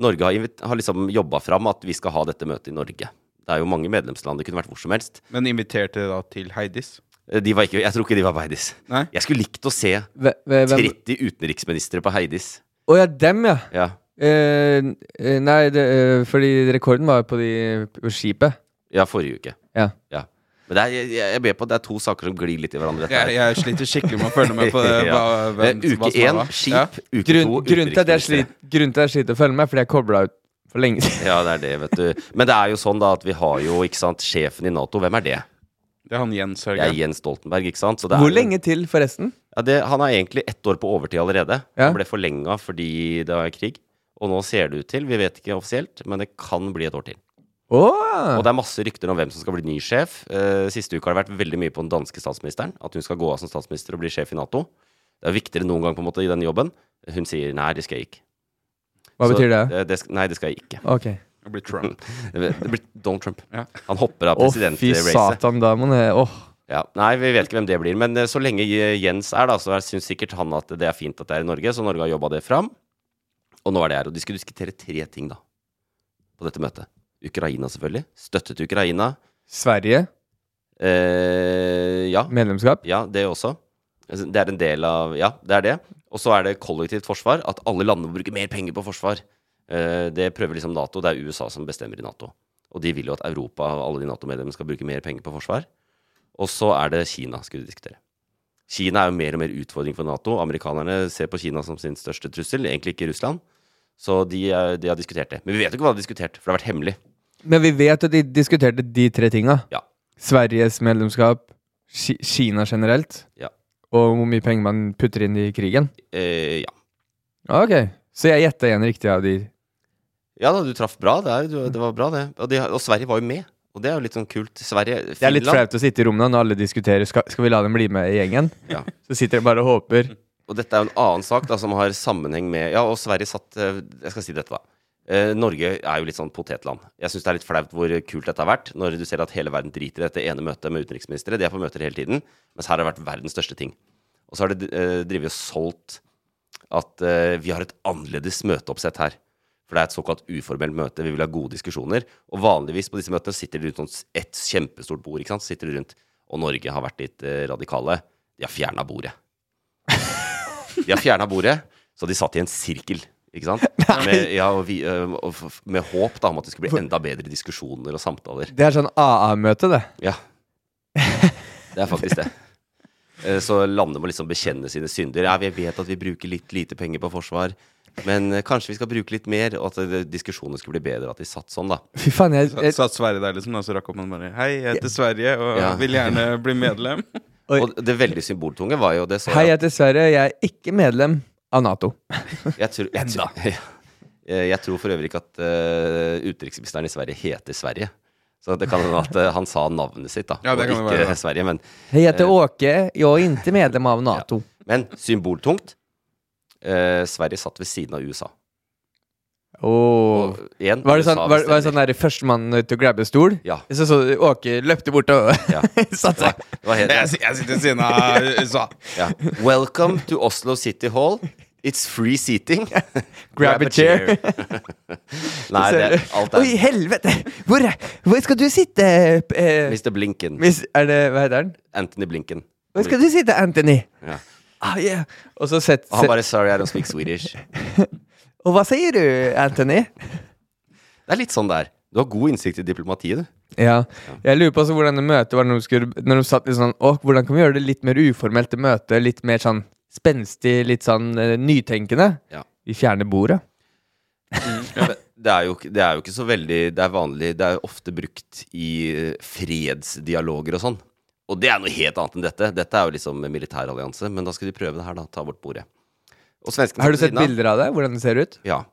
Speaker 1: Norge har, invit- har liksom jobba fram at vi skal ha dette møtet i Norge. Det er jo mange medlemsland. Det kunne vært hvor som helst.
Speaker 4: Men inviterte da til Heidis.
Speaker 1: Eh, De var ikke, jeg tror ikke de var på Heidis.
Speaker 4: Nei.
Speaker 1: Jeg skulle likt å se
Speaker 2: Hve- hve- Hvem?
Speaker 1: 30 utenriksministre på Heidis.
Speaker 2: Å ja, dem, ja.
Speaker 1: Ja,
Speaker 2: Eh, n- eh, nei, det, eh, fordi rekorden var på, de, på skipet.
Speaker 1: ja forrige uke.
Speaker 2: Ja.
Speaker 1: Ja. Men det er, jeg, jeg jeg ber på at det er to saker som glir litt i hverandre. dette her.
Speaker 4: Jeg, jeg sliter skikkelig med å følge med
Speaker 1: *laughs*
Speaker 4: på det, hva,
Speaker 1: Ja.
Speaker 4: hvem,
Speaker 1: Eh, Uke
Speaker 4: hva som er
Speaker 1: én
Speaker 4: hva.
Speaker 1: skip,
Speaker 4: Ja.
Speaker 1: uke
Speaker 2: Grunn,
Speaker 1: to
Speaker 2: grunnen til at jeg
Speaker 1: utenriksministre.
Speaker 2: sliter, grunnen til at jeg sliter å følge med, er fordi jeg kobla ut for lenge siden.
Speaker 1: Ja, det er det, vet du. Men det er jo sånn da at vi har jo, ikke sant, sjefen i Nato. Hvem er det?
Speaker 4: Det er han Jens
Speaker 1: Det er
Speaker 4: Hauge.
Speaker 1: Jens Stoltenberg, ikke sant? Så det er
Speaker 2: Hvor
Speaker 1: jo-
Speaker 2: lenge til, forresten?
Speaker 1: Ja, det, han er egentlig ett år på overtid allerede.
Speaker 2: Ja.
Speaker 1: Han ble forlenga fordi det var krig. Og nå ser det ut til, vi vet ikke offisielt, men det kan bli et år til.
Speaker 2: Åh
Speaker 1: Og det er masse rykter om hvem som skal bli ny sjef. Eh, siste uka har det vært veldig mye på den danske statsministeren. At hun skal gå av som statsminister og bli sjef i Nato. Det er viktigere enn noen gang på en måte i den jobben. Hun sier nei, det skal jeg ikke.
Speaker 2: Hva
Speaker 1: Så,
Speaker 2: betyr det?
Speaker 1: eh, det sk- nei, det skal jeg ikke.
Speaker 2: Ok.
Speaker 4: Det blir
Speaker 1: *laughs*
Speaker 4: Trump.
Speaker 1: Det blir Donald Trump.
Speaker 4: Ja.
Speaker 1: Han hopper av
Speaker 2: Å, fy
Speaker 1: presidentracet.
Speaker 2: satan, da må jeg Åh.
Speaker 1: Ja. Nei, vi vet ikke hvem det blir. Men eh, så lenge eh, Jens er, da, så er- syns sikkert han at det er fint at det er i Norge. Så Norge har jobba det fram. Og nå er det her. Og de skulle diskutere tre ting, da, på dette møtet. Ukraina, selvfølgelig. Støtte til Ukraina.
Speaker 2: Sverige?
Speaker 1: Eh, ja.
Speaker 2: Medlemskap?
Speaker 1: Ja, det også. Altså, Det er en del av Ja, det er det. Og så er det kollektivt forsvar. At alle landene må bruke mer penger på forsvar. Eh, Det prøver liksom Nato. Det er USA som bestemmer i Nato. Og de vil jo at Europa og alle de Nato-medlemmene skal bruke mer penger på forsvar. Og så er det Kina, skulle vi diskutere. Kina er jo mer og mer utfordring for Nato. Amerikanerne ser på Kina som sin største trussel, egentlig ikke Russland. Så de, er- de har diskutert det. Men vi vet jo ikke hva de har diskutert, for det har vært hemmelig.
Speaker 2: Men vi vet at de diskuterte de tre tinga.
Speaker 1: Ja.
Speaker 2: Sveriges medlemskap, Ki Kina generelt,
Speaker 1: Ja.
Speaker 2: og hvor mye penger man putter inn i krigen. Ah,
Speaker 1: Eh, ja.
Speaker 2: Ok, så jeg gjetta igjen riktig av de
Speaker 1: Ja da, du traff bra. Det, er, du, det var bra, det. Og, de, og Sverige var jo med. Og det er jo litt sånn kult. Sverige, Finland
Speaker 2: Det er litt flaut å sitte i rommet når alle diskuterer skal, skal vi la dem bli med i gjengen.
Speaker 1: Ja.
Speaker 2: *laughs* Så sitter de bare og håper.
Speaker 1: Og dette er jo en annen sak da, som har sammenheng med Ja, og Sverige satt eh, Jeg skal si dette, da. Eh, Norge er jo litt sånn potetland. Jeg syns det er litt flaut hvor kult dette har vært, når du ser at hele verden driter i dette ene møtet med utenriksministre. De er på møter hele tiden. Mens her har det vært verdens største ting. Og så har det eh, drevet og solgt at eh, vi har et annerledes møteoppsett her. For det er et såkalt uformelt møte. Vi vil ha gode diskusjoner. Og vanligvis på disse møtene sitter de rundt sånn et kjempestort bord. ikke sant? Sitter de rundt, Og Norge har vært litt eh, radikale. De har fjerna bordet. De har fjerna bordet, så de satt i en sirkel. Ikke sant? Med, ja, og vi, eh, og f- med håp da, om at det skulle bli enda bedre diskusjoner og samtaler.
Speaker 2: Det er sånn AA-møte, det.
Speaker 1: Ja. Det er faktisk det. Eh, Så landene må liksom bekjenne sine synder. Ja, vi vet at vi bruker litt lite penger på forsvar, men eh, kanskje vi skal bruke litt mer, og at eh, diskusjonene skulle bli bedre, at de satt sånn, da.
Speaker 2: Fy faen, jeg,
Speaker 4: Så
Speaker 2: jeg,
Speaker 4: satt Sverige der, liksom, og så rakk opp hånden bare Hei, jeg heter Sverige og
Speaker 1: Ja.
Speaker 4: vil gjerne bli
Speaker 1: *laughs*
Speaker 4: medlem.
Speaker 2: Oi.
Speaker 1: Og det veldig symboltunge var jo det så
Speaker 2: Hei,
Speaker 1: jeg
Speaker 2: jeg heter Sverre. Jeg er ikke medlem av Nato.
Speaker 1: Jeg tror, jeg, tror- *laughs* Eh, jeg tror for øvrig ikke at eh, utenriksministeren i Sverige heter Sverige. Så det kan hende at eh, han sa navnet sitt, da.
Speaker 4: Ja,
Speaker 1: og
Speaker 4: det kan
Speaker 1: ikke
Speaker 4: det være, ja.
Speaker 1: Sverige. Men,
Speaker 2: Hei,
Speaker 1: Eh.
Speaker 2: jeg heter Åke. Jeg er ikke medlem av Nato.
Speaker 1: men symboltungt. Eh, Sverige satt ved siden av USA.
Speaker 2: Åh.
Speaker 1: Og igjen,
Speaker 2: Var det sånn,
Speaker 1: USA
Speaker 2: var, var det
Speaker 1: bestemmer.
Speaker 2: sånn der førstemann til å grabbe stol?
Speaker 1: Ja.
Speaker 2: Så så du Åke løpte bort og *laughs*
Speaker 1: Ja.
Speaker 2: satte seg.
Speaker 1: Det var helt,
Speaker 4: Jeg, si- jeg sitter ved siden av USA.
Speaker 1: *laughs* ja. Welcome to Oslo City Hall. It's free seating.
Speaker 2: *laughs* Grab a chair. *laughs*
Speaker 1: Nei, det, alt
Speaker 2: Oi,
Speaker 1: er
Speaker 2: helvete! Hvor, hvor skal du sitte? eh,
Speaker 1: Mr. Blinken.
Speaker 2: Miss, er det, hva heter den?
Speaker 1: Anthony Blinken.
Speaker 2: Hvor skal du sitte, Anthony?
Speaker 1: Ja.
Speaker 2: Ah, yeah. Og så sett,
Speaker 1: Og han bare 'Sorry, I don't speak Swedish'.
Speaker 2: Og hva sier du, Anthony?
Speaker 1: Det er litt sånn der. Du har god innsikt i diplomatiet, du.
Speaker 2: Ja. Jeg lurer på altså hvordan det møtet var når du, skulle, når du satt litt sånn Å, hvordan kan vi gjøre det litt mer uformelt til møtet? Litt mer sånn spenstig, litt sånn eh, nytenkende?
Speaker 1: Ja.
Speaker 2: Vi fjerner bordet.
Speaker 1: Men Det er, jo, ikke- det er jo ikke så veldig Det er vanlig Det er jo ofte brukt i eh, fredsdialoger og sånn. Og det er noe helt annet enn dette. Dette er jo liksom en militærallianse. Men da skal de prøve det her, da. Ta bort bordet. Og svenskene
Speaker 2: Har du
Speaker 1: sitter
Speaker 2: sett
Speaker 1: ved siden av.
Speaker 2: bilder av det? Hvordan det ser ut?
Speaker 1: Ja.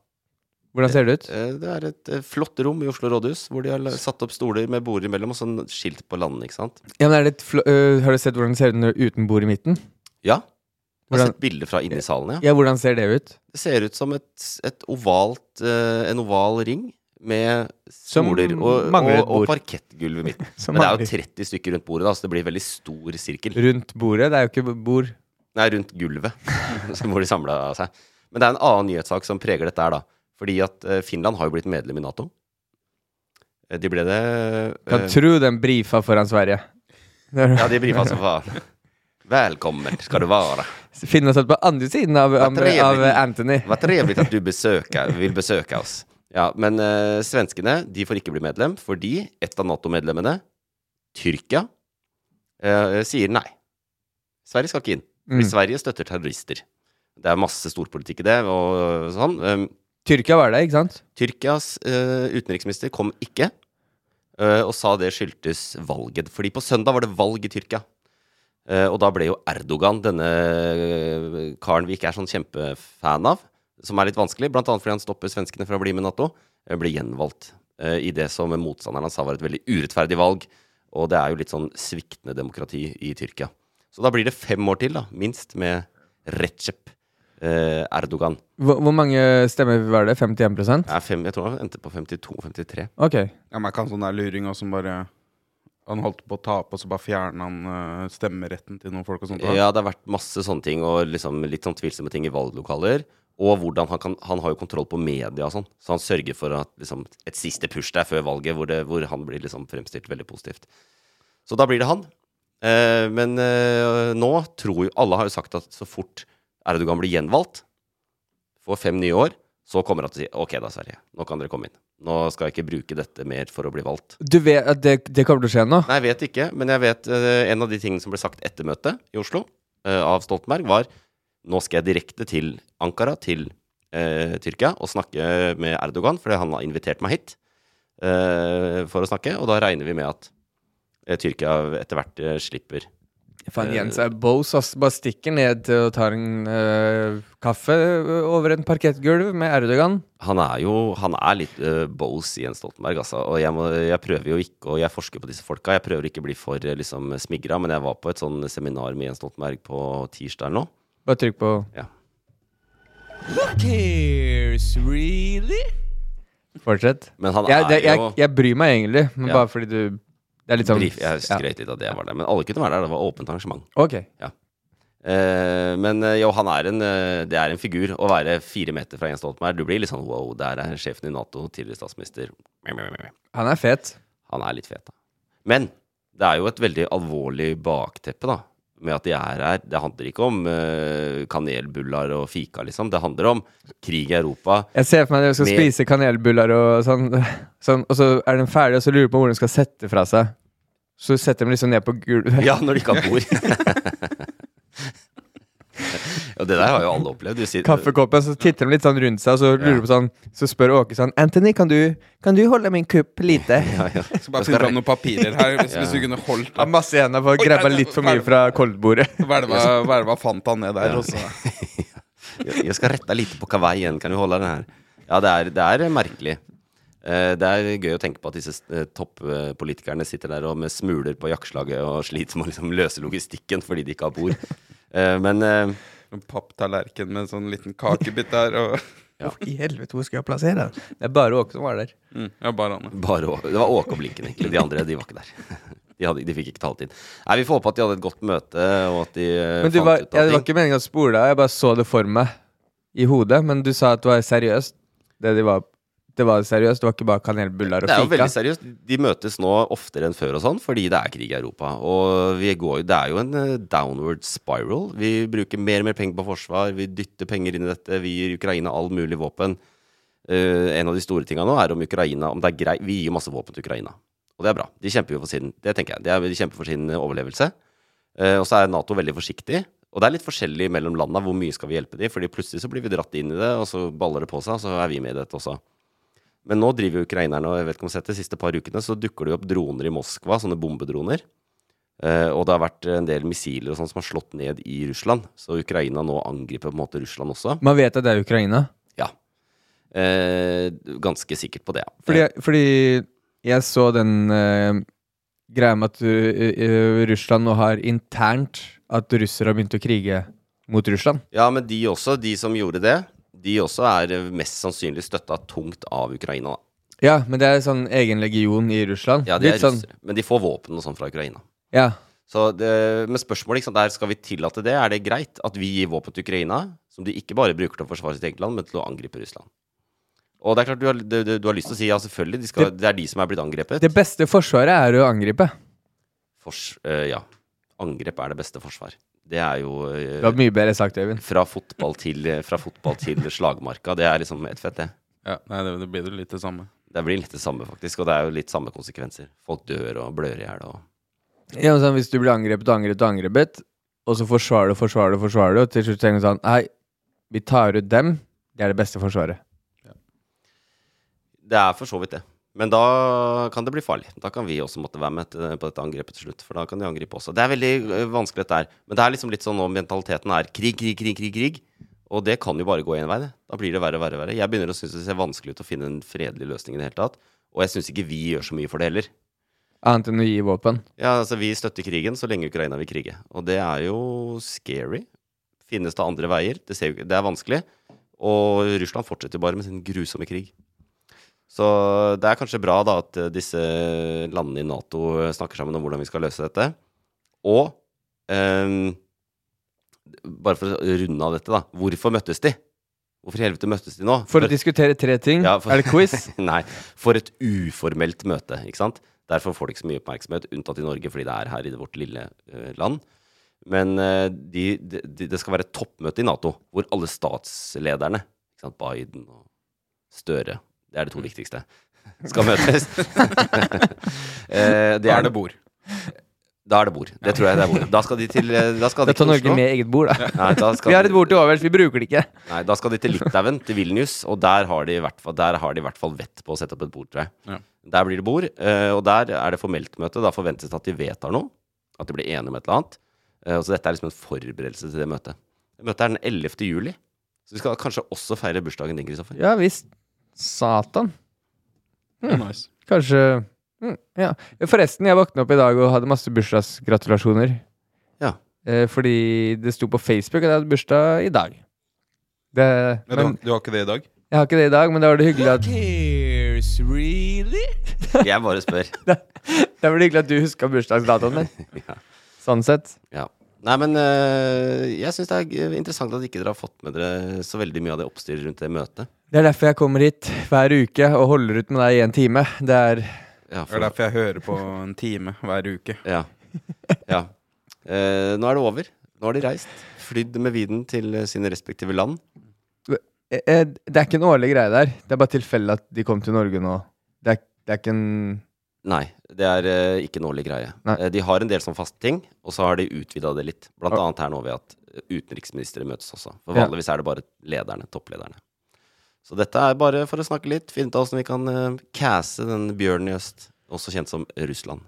Speaker 2: Hvordan ser det ut?
Speaker 1: Eh, Det er et eh, flott rom i Oslo rådhus hvor de har la- satt opp stoler med border imellom og sånn skilt på landene, ikke sant?
Speaker 2: Ja, men er det et fl øh, har du sett hvordan det ser ut når- uten bord i midten?
Speaker 1: Ja. Jeg har
Speaker 2: Hvordan-
Speaker 1: sett bilder fra inni salen, ja.
Speaker 2: Ja, hvordan ser det ut?
Speaker 1: Det ser ut som et, et ovalt, eh, en oval ring med
Speaker 2: Som
Speaker 1: stoler og, og,
Speaker 2: mangler et
Speaker 1: og
Speaker 2: bord.
Speaker 1: parkettgulv i
Speaker 2: *laughs*
Speaker 1: midten.
Speaker 2: Som
Speaker 1: Men det er jo
Speaker 2: mangler.
Speaker 1: 30 stykker rundt bordet, da, så det blir veldig stor sirkel.
Speaker 2: Rundt bordet? Det er jo ikke bord.
Speaker 1: Nei, rundt gulvet, *laughs* som hvor de samla seg. Men det er en annen nyhetssak som preger dette her, da. Fordi at eh, Finland har jo blitt medlem i Nato. Eh, De ble det
Speaker 2: Kan
Speaker 1: eh,
Speaker 2: tro den brifa foran Sverige. *laughs*
Speaker 1: Ja, de brifa som faen. Velkommen skal du være.
Speaker 2: Finne satt på andre siden av, av,
Speaker 1: trevlig.
Speaker 2: av Anthony.
Speaker 1: Vad trevligt at du besøker, vil besøke oss. Ja, men eh, svenskene de får ikke bli medlem, fordi et av Nato-medlemmene, Tyrkia, eh, sier nei. Sverige skal ikke inn, for
Speaker 2: Mm.
Speaker 1: Sverige støtter terrorister. Det er masse storpolitikk i det, og sånn. Um,
Speaker 2: Tyrkia var det, ikke sant?
Speaker 1: Tyrkias eh, utenriksminister kom ikke, eh, og sa det skyldtes valget. Fordi på søndag var det valg i Tyrkia. Eh, og da ble jo Erdogan, denne eh, karen vi ikke er sånn kjempefan av, som er litt vanskelig, bl.a. fordi han stopper svenskene fra å bli med i Nato, eh, ble gjenvalgt eh, i det som motstanderen hans sa var et veldig urettferdig valg. Og det er jo litt sånn sviktende demokrati i Tyrkia. Så da blir det fem år til, da, minst, med Recep eh, Erdogan.
Speaker 2: Hvor, hvor mange stemmer var det? 51
Speaker 1: Det er fem, jeg tror han endte på 52-53.
Speaker 2: Ok.
Speaker 4: Ja, men jeg kan sånn der luring også, som bare Han holdt på å tape, og så bare fjerna han eh, stemmeretten til noen folk og sånt. da.
Speaker 1: Ja, det har vært masse sånne ting, og liksom litt sånn tvilsomme ting i valglokaler. Og hvordan han kan Han har jo kontroll på media og sånn, så han sørger for at liksom et siste push der før valget, hvor, det, hvor han blir liksom fremstilt veldig positivt. Så da blir det han. Eh, men eh, nå tror jo Alle har jo sagt at så fort Erdogan blir gjenvalgt, får fem nye år, så kommer han til å si OK da, Sverige, nå kan dere komme inn. Nå skal jeg ikke bruke dette mer for å bli valgt.
Speaker 2: Du vet at det, det kommer til å skje nå?
Speaker 1: Nei, jeg vet ikke, men jeg vet eh, en av de tingene som ble sagt etter møtet i Oslo eh, av Stoltenberg, var nå skal jeg direkte til Ankara, til eh, Tyrkia, og snakke med Erdogan, fordi han har invitert meg hit eh, for å snakke, og da regner vi med at eh, Tyrkia etter hvert eh, slipper.
Speaker 2: Faen, Jens er bos, ass. Bare stikker ned til og tar en øh, kaffe over en parkettgulv med Erdogan.
Speaker 1: Han er jo han er litt uh, Bose i Jens Stoltenberg, altså. Og jeg, må, jeg prøver jo ikke, og jeg forsker på disse folka. Jeg prøver ikke å bli for eh, liksom, smigra, men jeg var på et sånn seminar med Jens Stoltenberg på tirsdag eller noe.
Speaker 2: Bare trykk på
Speaker 1: Ja.
Speaker 2: Cares, really? Fortsett.
Speaker 1: Men han
Speaker 2: Jeg, det,
Speaker 1: er
Speaker 2: jeg,
Speaker 1: jo
Speaker 2: jeg bryr meg egentlig, men
Speaker 1: Ja.
Speaker 2: bare fordi du Det er litt sånn
Speaker 1: Brief, jeg skrøt litt av det jeg var der, men alle kunne være der. Det var åpent arrangement.
Speaker 2: Ja. Ok.
Speaker 1: Eh, men eh, jo, han er en, eh, det er en figur å være fire meter fra Jens Stoltenberg. Du blir litt sånn wow, der er sjefen i Nato, tidligere statsminister. Han
Speaker 2: Han er fet.
Speaker 1: er litt fet, da. Men det er jo et veldig alvorlig bakteppe, da. Med at de er her. Det handler ikke om eh, kanelbullar og fika, liksom. Det handler om krig i Europa.
Speaker 2: Jeg ser for meg at du skal
Speaker 1: Med-
Speaker 2: spise kanelbuller og sånn, sånn, og så er den ferdig, og så lurer du på hvor den skal sette fra seg. Så setter de liksom ned på gulvet.
Speaker 1: Ja, når de ikke har bord. *laughs* Og det der har jo alle opplevd. Du sitter,
Speaker 2: *laughs* Kaffekoppen, så titter de litt sånn rundt seg, og så lurer du på sånn Så spør Åke sånn Anthony, kan du, kan du holde min kupp
Speaker 1: *laughs*
Speaker 2: lite?
Speaker 4: Jeg skal bare finne fram noen papirer her, hvis, hvis du kunne holdt
Speaker 2: Jeg har masse igjen for å grabbe litt for mye fra koldbordet.
Speaker 4: *laughs* Hvelva, hvelva fant han ned der, og så
Speaker 1: Jeg jeg skal rette litt på hva vei igjen. Kan du holde den her? Ja, det er, det er merkelig. Eh, Det er gøy å tenke på at disse eh, toppolitikerne sitter der og med smuler på jakkslaget og sliter med å liksom løse logistikken fordi de ikke har bord. Eh, Men eh,
Speaker 4: En papptallerken med en sånn liten kakebit der,
Speaker 1: *laughs*
Speaker 4: og
Speaker 2: I helvete, hvor skal jeg plassere den? Det er bare Åke som var der.
Speaker 4: mm, Ja, bare han.
Speaker 1: bare, å- det var Åke og Blinken, egentlig. De andre de var ikke der. *laughs* De, hadde, de fikk ikke taletid. Nei, Vi får håpe at de hadde et godt møte, og at de eh,
Speaker 2: Men du
Speaker 1: fant ut
Speaker 2: var, ja, det
Speaker 1: av
Speaker 2: var
Speaker 1: ting.
Speaker 2: ikke meningen å spole deg, jeg bare så det for meg i hodet. Men du sa at det var seriøst. Det, de var, det var seriøst, det var ikke bare kanelbuller og
Speaker 1: Det er jo veldig
Speaker 2: fika.
Speaker 1: seriøst. De møtes nå oftere enn før og sånn, fordi det er krig i Europa. Og vi går, det er jo en eh, downward spiral. Vi bruker mer og mer penger på forsvar, vi dytter penger inn i dette, vi gir Ukraina all mulig våpen. eh, en av de store tinga nå er om Ukraina om det er grei, Vi gir masse våpen til Ukraina. Og det er bra. De kjemper jo for sin Det tenker jeg. De, er, de kjemper for sin eh, overlevelse. Eh, og så er Nato veldig forsiktig. Og det er litt forskjellig mellom landa hvor mye skal vi hjelpe de, fordi plutselig så blir vi dratt inn i det, og så baller det på seg, og så er vi med i dette også. Men nå driver jo ukrainerne, og jeg vet ikke om du har sett det, de siste par ukene så dukker det jo opp droner i Moskva, sånne bombedroner. Eh, og det har vært en del missiler og sånn som har slått ned i Russland. Så Ukraina nå angriper på en måte Russland også.
Speaker 2: Man vet at det er Ukraina.
Speaker 1: Ja. Eh, ganske sikkert på det, ja.
Speaker 2: Fordi, fordi jeg så den eh, greia med at eh, eh, Russland nå har internt at russere har begynt å krige mot Russland.
Speaker 1: Ja, men de også, de som gjorde det, de også er mest sannsynlig støtta tungt av Ukraina. da.
Speaker 2: Ja, men det er sånn egen legion i Russland.
Speaker 1: Ja, de er
Speaker 2: Litt sånn,
Speaker 1: russere, men de får våpen og sånn fra Ukraina.
Speaker 2: ja.
Speaker 1: Så det, men spørsmålet ikke sant, der skal vi tillate det. Er det greit at vi gir våpen til Ukraina, som de ikke bare bruker til å forsvare sitt eget land, men til å angripe Russland? Og det er klart, du har, du, du- du har lyst til å si ja, selvfølgelig, de skal, det, er de som er blitt angrepet.
Speaker 2: Det beste forsvaret er å angripe.
Speaker 1: Fors, eh, ja. Angrep er det beste forsvar. Det er jo eh,
Speaker 2: Det var mye bedre sagt, Øyvind.
Speaker 1: fra, fotball til, fra fotball til slagmarka. Det er liksom ett fett, det.
Speaker 4: Ja, nei, det, det blir jo litt det samme.
Speaker 1: Det blir litt det samme, faktisk. Og det er jo litt samme konsekvenser. Folk dør og blør i hjel og
Speaker 2: Ja, men sånn, hvis du blir angrepet og angrepet og angrepet, og så forsvarer du og forsvarer du, og forsvarer du, og til slutt tenker du sånn Nei, vi tar ut dem. Det er det beste forsvaret.
Speaker 1: Det er for så vidt det. Men da kan det bli farlig. Da kan vi også måtte være med til, på dette angrepet til slutt. For da kan de angripe også. Det er veldig ø, vanskelig, dette her. Men det er liksom litt sånn nå mentaliteten er krig, krig, krig, krig. krig. Og det kan jo bare gå én vei. det. Da blir det verre og verre. og verre. Jeg begynner å synes det ser vanskelig ut å finne en fredelig løsning i det hele tatt. Og jeg syns ikke vi gjør så mye for det heller.
Speaker 2: Annet enn å gi våpen.
Speaker 1: Ja, altså Vi støtter krigen så lenge Ukraina vil krige. Og det er jo scary. Finnes det andre veier? Det, ser, jo- det er vanskelig. Og Russland fortsetter jo bare med sin grusomme krig. Så det er kanskje bra da at eh, disse landene i Nato snakker sammen om hvordan vi skal løse dette. Og ehm, bare for å runde av dette, da. Hvorfor møttes de? Hvorfor i helvete møttes de nå?
Speaker 2: For å diskutere tre ting.
Speaker 1: *laughs* Ja, for-
Speaker 2: Mm. Er det quiz?
Speaker 1: Nei. For et uformelt møte, ikke sant? Derfor får det ikke så mye oppmerksomhet, unntatt i Norge, fordi det er her i vårt lille eh, land. Men eh, de, de, de, det skal være et toppmøte i Nato, hvor alle statslederne, ikke sant? Biden og Støre, det
Speaker 2: Mm.
Speaker 1: er de to viktigste, skal møtes. *laughs* Eh, det
Speaker 4: Da
Speaker 1: er,
Speaker 4: er det bord.
Speaker 1: Da er det bord. Det tror jeg det er bord. Da skal de til eh, Da skal
Speaker 2: Da
Speaker 1: de
Speaker 2: tar
Speaker 1: til
Speaker 2: Norge
Speaker 1: Oslo.
Speaker 2: med eget bord, *laughs* da.
Speaker 1: Nei, da skal
Speaker 2: Vi har et
Speaker 1: de-
Speaker 2: bord til overs, vi bruker det ikke.
Speaker 1: Nei, da skal de til Litauen, til Vilnius, og der har de i hvert fall, der har de i hvert fall vett på å sette opp et bord, tror jeg.
Speaker 4: Ja.
Speaker 1: Der blir det bord, eh, og der er det formelt møte. Da forventes det at de vedtar noe, at de blir enige om et eller annet. Eh, Og så dette er liksom en forberedelse til det møtet. Møtet er den 11. juli, så vi skal kanskje også feire bursdagen din, Kristoffer.
Speaker 2: Ja visst. Satan.
Speaker 4: Nice.
Speaker 2: Kanskje mm, Ja. Forresten, jeg våkna opp i dag og hadde masse bursdagsgratulasjoner.
Speaker 1: Ja.
Speaker 2: Eh, fordi det sto på Facebook at jeg hadde bursdag i dag. Det,
Speaker 4: Men, du,
Speaker 2: men
Speaker 4: har- du har ikke det i dag?
Speaker 2: jeg har ikke det i dag, men da var det hyggelig at
Speaker 1: Jeg bare
Speaker 4: *laughs*
Speaker 1: spør.
Speaker 2: Da var det hyggelig at du huska bursdagsdatoen min. Sånn sett.
Speaker 1: Ja. Nei, men eh, jeg syns det er g- interessant at ikke dere har fått med dere så veldig mye av det oppstyret rundt det møtet.
Speaker 2: Det er derfor jeg kommer hit hver uke og holder ut med deg i en time. Det er
Speaker 1: Ja,
Speaker 4: Det er derfor jeg hører på en time hver uke.
Speaker 1: Ja. ja. Eh, nå er det over. Nå har de reist. Flydd med viden til eh, sine respektive land.
Speaker 2: eh, eh, Det er ikke en årlig greie der. Det er bare tilfeldig at de kom til Norge nå. Det er, det er ikke en
Speaker 1: Nei, det er eh, ikke en årlig greie.
Speaker 2: Nei.
Speaker 1: Eh, de har en del sånn faste ting, og så har de utvida det litt. Blant annet her nå ved at eh, utenriksministre møtes også. For
Speaker 2: Ja.
Speaker 1: vanligvis er det bare lederne, topplederne. Så dette er bare for å snakke litt, finne ut av åssen vi kan eh, casse den bjørnen i øst, også kjent som Russland.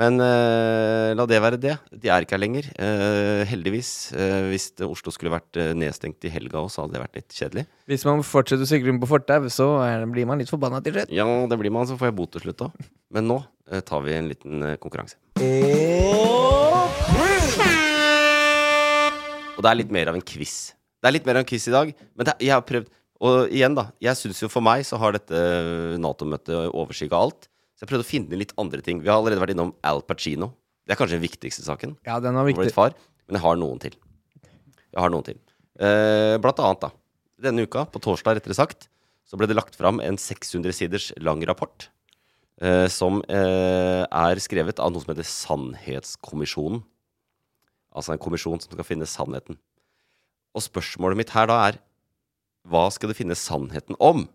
Speaker 1: Men eh, la det være det. De er ikke her lenger. Eh, heldigvis. eh, hvis det- Oslo skulle vært eh, nedstengt i helga òg, så hadde det vært litt kjedelig.
Speaker 2: Hvis man fortsetter å sykle rundt på fortau, så er, blir man litt forbanna til slutt.
Speaker 1: Ja, det blir man, så får jeg bot til slutt òg. Men nå eh, tar vi en liten eh, konkurranse. Og det er litt mer av en quiz. Det er litt mer av en quiz i dag, men det, jeg har prøvd Og igjen, da. Jeg syns jo for meg så har dette eh, Nato-møtet overskygga alt. Så jeg prøvde å finne litt andre ting. Vi har allerede vært innom Al Pacino. Det er kanskje den viktigste saken.
Speaker 2: Ja, den var
Speaker 1: Viktig.
Speaker 2: viktig.
Speaker 1: Far, men jeg har noen til. Jeg har noen til. Eh, blant annet, da. Denne uka, på torsdag rettere sagt, så ble det lagt fram en 600 siders lang rapport. eh, som eh, er skrevet av noe som heter Sannhetskommisjonen. Altså en kommisjon som skal finne sannheten. Og spørsmålet mitt her da er Hva skal det finnes sannheten om?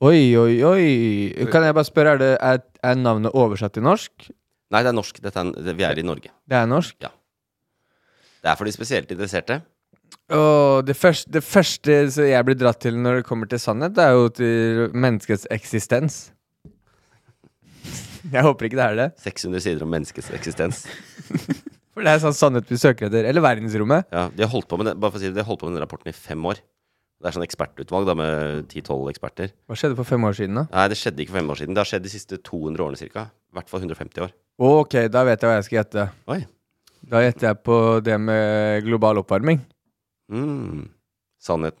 Speaker 2: Oi, oi, oi. Kan jeg bare spørre, er, det, er, er navnet oversatt til norsk?
Speaker 1: Nei, det er norsk. Dette er, det, vi er i Norge.
Speaker 2: Det er norsk.
Speaker 1: Det er for de spesielt interesserte.
Speaker 2: Og det første, det første så jeg blir dratt til når det kommer til sannhet, det er jo til menneskets eksistens. Jeg håper ikke det er det.
Speaker 1: 600 sider om menneskets eksistens.
Speaker 2: For det er sånn sannhet vi søker etter. Eller verdensrommet.
Speaker 1: Ja, de har holdt på med det, bare for å si det, de har holdt på med den rapporten i fem år. Det er sånn ekspertutvalg da, med 10-12 eksperter.
Speaker 2: Hva skjedde for fem år siden, da?
Speaker 1: Nei, det skjedde ikke for fem år siden. Det har skjedd de siste 200 årene cirka. I hvert fall 150 år.
Speaker 2: Ok, da vet jeg hva jeg skal gjette.
Speaker 1: Oi.
Speaker 2: Da gjetter jeg på det med global oppvarming.
Speaker 1: Mm. Sannheten.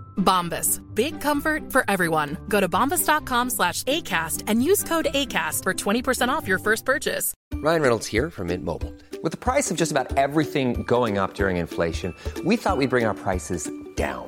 Speaker 6: Bombas. Big comfort for everyone. Go to bombas.com slash ACAST and use code ACAST for 20% off your first purchase.
Speaker 7: Ryan Reynolds here from Mint Mobile. With the price of just about everything going up during inflation, we thought we'd bring our prices down.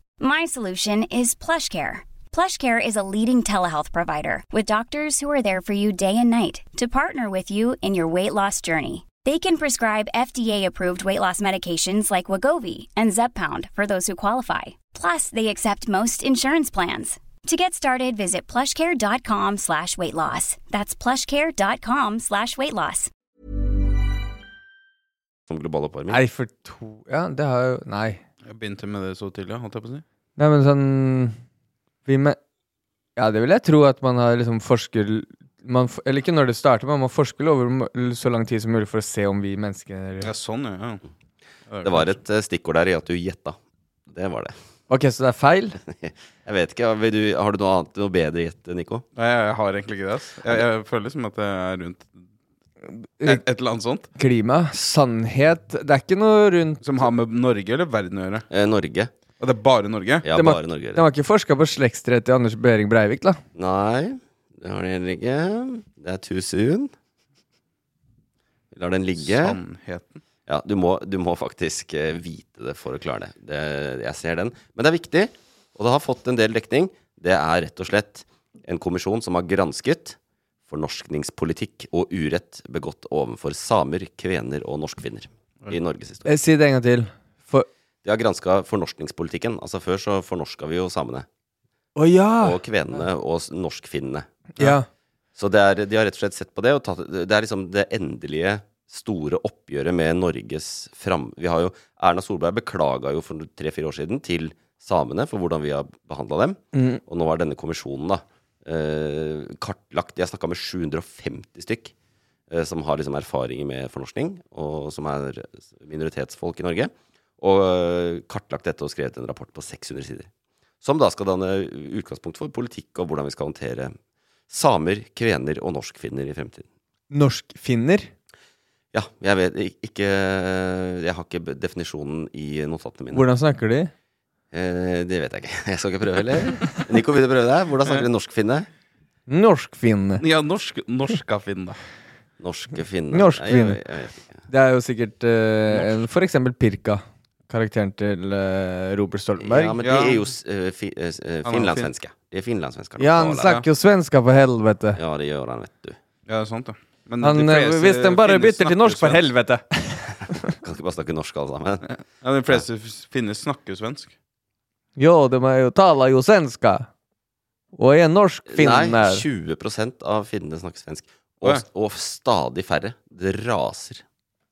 Speaker 8: My solution is PlushCare. PlushCare is a leading telehealth provider with doctors who are there for you day and night to partner with you in your weight loss journey. They can prescribe FDA-approved weight loss medications like Wagovi and Zepbound for those who qualify. Plus, they accept most insurance plans. To get started, visit plushcare.com slash weight loss. That's plushcare.com slash weight loss.
Speaker 1: Om global oppvarming.
Speaker 2: Nei, for to Ja, det har jo Nei.
Speaker 4: Jeg begynte med det så tidlig, holdt jeg på å si.
Speaker 2: Nei, men sånn vi men, Ja, det vil jeg tro at man har liksom forsker man, f- Eller ikke når det starter, men man forsker vel over m- så lang tid som mulig for å se om vi mennesker
Speaker 4: Ja, sånn, ja. ja.
Speaker 1: Det var et eh, stikkord der i at du gjetta. Det var det.
Speaker 2: Ok, så det er feil?
Speaker 1: Jeg vet ikke, vil du, Har du noe annet, noe bedre gjett, Nico?
Speaker 4: Nei, jeg har egentlig ikke det. ass. Jeg, jeg føler som at jeg er rundt et, et eller annet sånt.
Speaker 2: Eh, Klima, sannhet Det er ikke noe rundt
Speaker 4: Som har med Norge eller verden å gjøre.
Speaker 1: Eh, Norge.
Speaker 4: Og det er bare Norge.
Speaker 1: Ja,
Speaker 2: Det må-
Speaker 1: bare Norge.
Speaker 2: De har ikke forska på slektstreet til Anders Behring Breivik, da?
Speaker 1: Nei, det har de heller ikke. Det er too soon. Vi lar den ligge.
Speaker 4: Sannheten.
Speaker 1: Ja, du må, du må faktisk eh, vite det for å klare det. det. Jeg ser den. Men det er viktig, og det har fått en del dekning. Det er rett og slett en kommisjon som har gransket fornorskningspolitikk og urett begått overfor samer, kvener og norskfinner i Norges historie.
Speaker 2: Eh, Si det en gang til. For
Speaker 1: De har granska fornorskningspolitikken. Altså Før så fornorska vi jo samene.
Speaker 2: Å ja!
Speaker 1: Og kvenene og s- norskfinnene.
Speaker 2: ja!
Speaker 1: Så det er, de har rett og slett sett på det. Og tatt, det er liksom det endelige store oppgjøret med Norges fram... Vi har jo, Erna Solberg beklaga jo for tre-fire år siden til samene for hvordan vi har behandla dem. Og nå har denne kommisjonen da eh, kartlagt De har snakka med 750 stykk eh, som har liksom erfaringer med fornorskning, og som er minoritetsfolk i Norge. Og eh, kartlagt dette og skrevet en rapport på 600 sider. Som da skal danne utgangspunkt for politikk og hvordan vi skal håndtere samer, kvener og norskfinner i fremtiden.
Speaker 2: Norskfinner?
Speaker 1: Ja, jeg vet ik- ikke Jeg har ikke b- definisjonen i notatene mine.
Speaker 2: Hvordan snakker de?
Speaker 1: Eh, det vet jeg ikke. *laughs* Jeg skal ikke prøve heller. Nico, vil du prøve deg? Hvordan snakker de norskfinne?
Speaker 2: Norskfinne.
Speaker 4: Ja, norsk, norska finn, da.
Speaker 1: Norske finne
Speaker 2: Norskfinne.
Speaker 1: Nei, jeg- jeg vet ikke.
Speaker 2: Det er jo sikkert eh, en- for eksempel Pirka. Karakteren til eh, Robert Stoltenberg.
Speaker 1: Ja, men de
Speaker 4: Ja.
Speaker 1: er jo s- eh, fi, eh, s- eh,
Speaker 4: Han er fin.
Speaker 1: finlandssvenske. De er finlandssvensker.
Speaker 2: Ja, han snakker jo svenska, for helvete.
Speaker 1: Ja, det gjør han, vet du.
Speaker 4: Ja, det er sant, ja. Men
Speaker 2: Han,
Speaker 4: de fleste
Speaker 2: eh, hvis den bare
Speaker 4: finnes
Speaker 2: bytter til
Speaker 4: snakker
Speaker 2: norsk, for
Speaker 4: svensk.
Speaker 2: helvete!
Speaker 1: Kan ikke bare snakke norsk, alle
Speaker 2: *laughs*
Speaker 1: sammen.
Speaker 4: Ja, de fleste f- finnes snakker svensk.
Speaker 2: Jo, de er jo taler jo svenska. Og er norsk
Speaker 1: Nei,
Speaker 2: finner.
Speaker 1: 20 av finnene snakker svensk.
Speaker 2: Å,
Speaker 1: Og,
Speaker 2: ja.
Speaker 1: og stadig færre. Det raser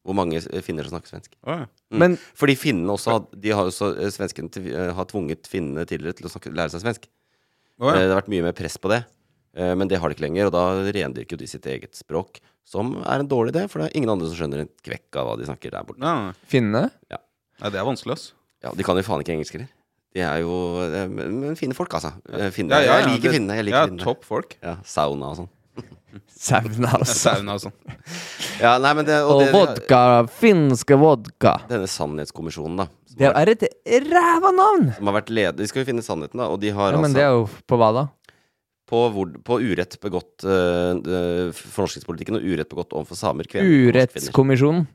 Speaker 1: hvor mange eh, finner som snakker svensk.
Speaker 4: Å, ja.
Speaker 1: Mm.
Speaker 2: Men-
Speaker 1: Fordi finnene også har, de har jo så, eh, svenskene til, eh, har tvunget finnene tidligere til å snakke, lære seg svensk.
Speaker 4: Å, ja.
Speaker 1: Eh, Det har vært mye mer press på det, Eh, men det har de ikke lenger. Og da rendyrker jo de sitt eget språk, som er en dårlig idé, for det er ingen andre som skjønner en kvekk av hva de snakker der borte.
Speaker 4: Nei, nei, nei.
Speaker 2: Finnene?
Speaker 1: Ja.
Speaker 4: Nei, det er vanskelig, ass.
Speaker 1: Ja, De kan jo faen ikke engelsk heller. De er jo eh, Men men fine folk, altså. Eh, Finne,
Speaker 4: Ja, ja, ja,
Speaker 1: jeg liker
Speaker 4: det-
Speaker 1: finne. Jeg liker
Speaker 4: ja,
Speaker 1: finne.
Speaker 4: topp folk.
Speaker 1: Ja, Sauna og sånn.
Speaker 2: Sauna altså. og
Speaker 4: Sauna og sånn.
Speaker 1: Ja, nei, men det,
Speaker 2: Og
Speaker 1: det-
Speaker 2: vodka. Finske vodka.
Speaker 1: Denne sannhetskommisjonen, da.
Speaker 2: Det er et ræva navn!
Speaker 1: Som har vært leder De skal jo finne sannheten, da. Og de har
Speaker 2: Ja, men
Speaker 1: altså
Speaker 2: det er jo på hva da?
Speaker 1: på, hvor, på urett begått uh, fornorskingspolitikken og urett begått overfor samer, kvener og norske kvinner.
Speaker 2: Urettskommisjonen.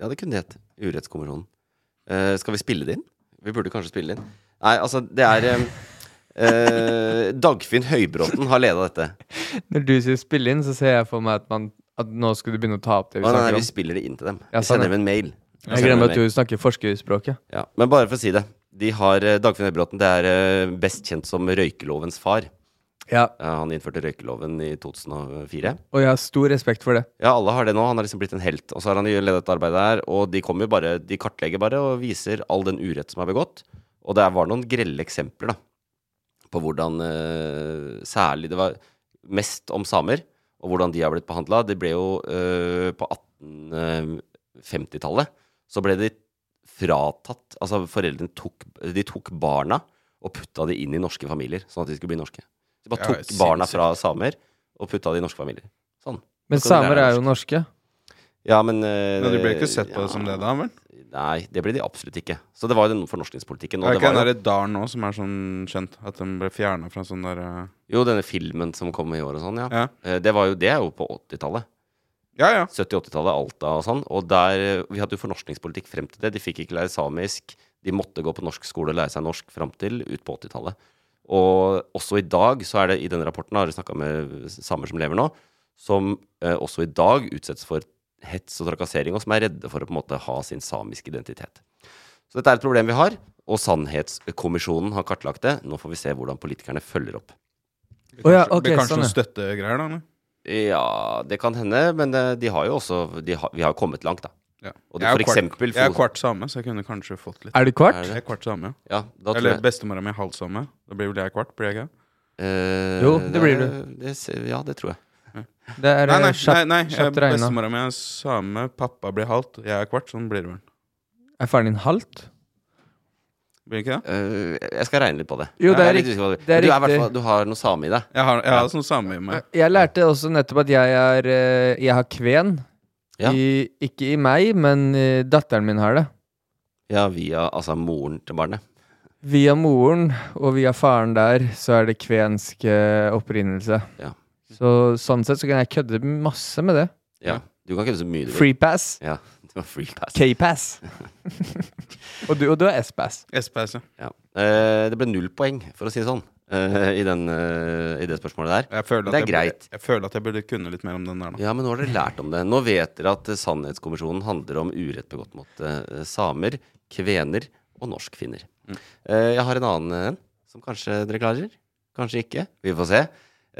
Speaker 1: Ja, det kunne det hett. Urettskommisjonen. Eh, skal vi spille det inn? Vi burde kanskje spille det inn. Nei, altså, det er eh, eh, Dagfinn Høybråten har leda dette.
Speaker 2: Når du sier spille inn, så ser jeg for meg at, man, at nå skal du begynne å ta opp det vi
Speaker 1: Å, nei,
Speaker 2: snakker
Speaker 1: vi
Speaker 2: om.
Speaker 1: spiller det inn til dem.
Speaker 2: Ja,
Speaker 1: vi
Speaker 2: sånn,
Speaker 1: sender
Speaker 2: ja.
Speaker 1: dem en mail. Vi
Speaker 2: Jeg
Speaker 1: sender dem en
Speaker 2: glemmer at
Speaker 1: mail.
Speaker 2: du snakker forskerspråket.
Speaker 1: Ja, men bare for å si det. De har, eh, Dagfinn Høybråten det er eh, best kjent som røykelovens far.
Speaker 2: Ja.
Speaker 1: Eh, Han innførte røykeloven i 2004.
Speaker 2: Og jeg har stor respekt for det.
Speaker 1: Ja, alle har det nå. Han har liksom blitt en helt. Og så har han ledet dette arbeidet her, og de kommer jo bare De kartlegger bare og viser all den urett som er begått. Og det var noen grelle eksempler, da, på hvordan eh, særlig Det var mest om samer, og hvordan de har blitt behandla. Det ble jo eh, På 1850-tallet så ble de fratatt Altså, foreldrene tok De tok barna og putta de inn i norske familier, sånn at de skulle bli norske. De bare
Speaker 4: Ja,
Speaker 1: tok
Speaker 4: sinnssykt.
Speaker 1: barna fra samer og putta de i norske familier. Sånn. Da
Speaker 2: Men
Speaker 1: kan de lære
Speaker 2: samer
Speaker 1: norsk.
Speaker 2: er jo norske.
Speaker 1: Ja, men eh,
Speaker 4: Ja, de ble ikke sett på det som det da, vel?
Speaker 1: Nei, det ble de absolutt ikke. Så det var jo den fornorskningspolitikken.
Speaker 4: er
Speaker 1: Og
Speaker 4: det ikke
Speaker 1: det
Speaker 4: den
Speaker 1: var
Speaker 4: derre
Speaker 1: jo,
Speaker 4: dalen nå som er sånn kjent? At den ble fjerna fra sånn der eh,
Speaker 1: jo, denne filmen som kom i år og sånn, ja.
Speaker 4: Ja.
Speaker 1: Eh, Det, var jo, det er jo på 80-tallet.
Speaker 4: Ja, ja.
Speaker 1: 70-80-tallet, Alta og sånn. Og der, eh, vi hadde jo fornorskningspolitikk frem til det. De fikk ikke lære samisk. De måtte gå på norsk skole og lære seg norsk frem til ut på 80-tallet. Og også i dag, så er det i denne rapporten, har jeg snakka med samer som lever nå, som eh, også i dag utsettes for hets og trakassering, og som er redde for å på en måte ha sin samiske identitet. Så dette er et problem vi har, og Sannhetskommisjonen har kartlagt det. Nå får vi se hvordan politikerne følger opp.
Speaker 4: Det
Speaker 2: Å ja,
Speaker 4: kanskje-
Speaker 2: ok,
Speaker 4: blir kanskje
Speaker 2: sånn,
Speaker 4: noen støttegreier, da? Eller?
Speaker 1: Ja, det kan hende, men eh, de har jo også de har, Vi har jo kommet langt, da.
Speaker 4: Ja.
Speaker 1: Og det,
Speaker 4: Jeg er
Speaker 1: for
Speaker 4: kvart-
Speaker 1: eksempel
Speaker 4: Jeg er kvart same, så jeg kunne kanskje fått litt.
Speaker 2: Er du kvart? Er
Speaker 1: det?
Speaker 4: Jeg er kvart same,
Speaker 1: Ja, da tror
Speaker 4: Eller
Speaker 1: jeg-
Speaker 4: bestemora mi er halvt same. Da blir vel jeg kvart, blir jeg ikke?
Speaker 1: Eh,
Speaker 2: Jo, det blir du.
Speaker 1: Det, ser- ja, det tror jeg.
Speaker 2: Det er
Speaker 4: nei, nei,
Speaker 2: eh, kjapt,
Speaker 4: nei, nei. eh,
Speaker 2: kjapt regna.
Speaker 4: Bestemora mi er same, pappa blir halvt, jeg er kvart. Sånn blir det vel.
Speaker 2: Er faren din halvt?
Speaker 4: Blir det ikke det?
Speaker 1: Eh, jeg skal regne litt på det.
Speaker 2: Jo,
Speaker 1: Jeg
Speaker 2: det er
Speaker 1: litt
Speaker 2: rikt-
Speaker 1: usikker på
Speaker 2: det
Speaker 1: Men
Speaker 2: er
Speaker 1: du, er i hvert
Speaker 2: riktig.
Speaker 1: fall- du har noe same i deg.
Speaker 4: Jeg har, jeg har sånn same i meg.
Speaker 2: Jeg lærte også nettopp at jeg er eh, Jeg har kven.
Speaker 1: Ja.
Speaker 2: I, ikke i meg, men eh, datteren min har det.
Speaker 1: Ja, via altså moren til barnet.
Speaker 2: Via moren og via faren der, så er det kvensk eh, opprinnelse.
Speaker 1: Ja.
Speaker 2: Så sånn sett så kan jeg kødde masse med det.
Speaker 1: Ja. Du kan kødde så mye du vil.
Speaker 2: Free pass.
Speaker 1: Ja, du har *laughs* free pass. *laughs*
Speaker 2: K-pass. og, du, og du er S-pass.
Speaker 4: SPS, ja.
Speaker 1: Ja. Eh, det ble null poeng, for å si det sånn, eh, i, den, eh, i det spørsmålet der.
Speaker 4: Jeg føler at
Speaker 1: Det er
Speaker 4: jeg,
Speaker 1: greit.
Speaker 4: Burde, jeg føler at jeg burde kunne litt mer om den der, da.
Speaker 1: Ja, men nå har dere lært om det. Nå vet dere at eh, Sannhetskommisjonen handler om urett begått mot eh, samer, kvener og norskfinner. Eh, jeg har en annen eh, en som kanskje dere klarer. Kanskje ikke. Vi får se.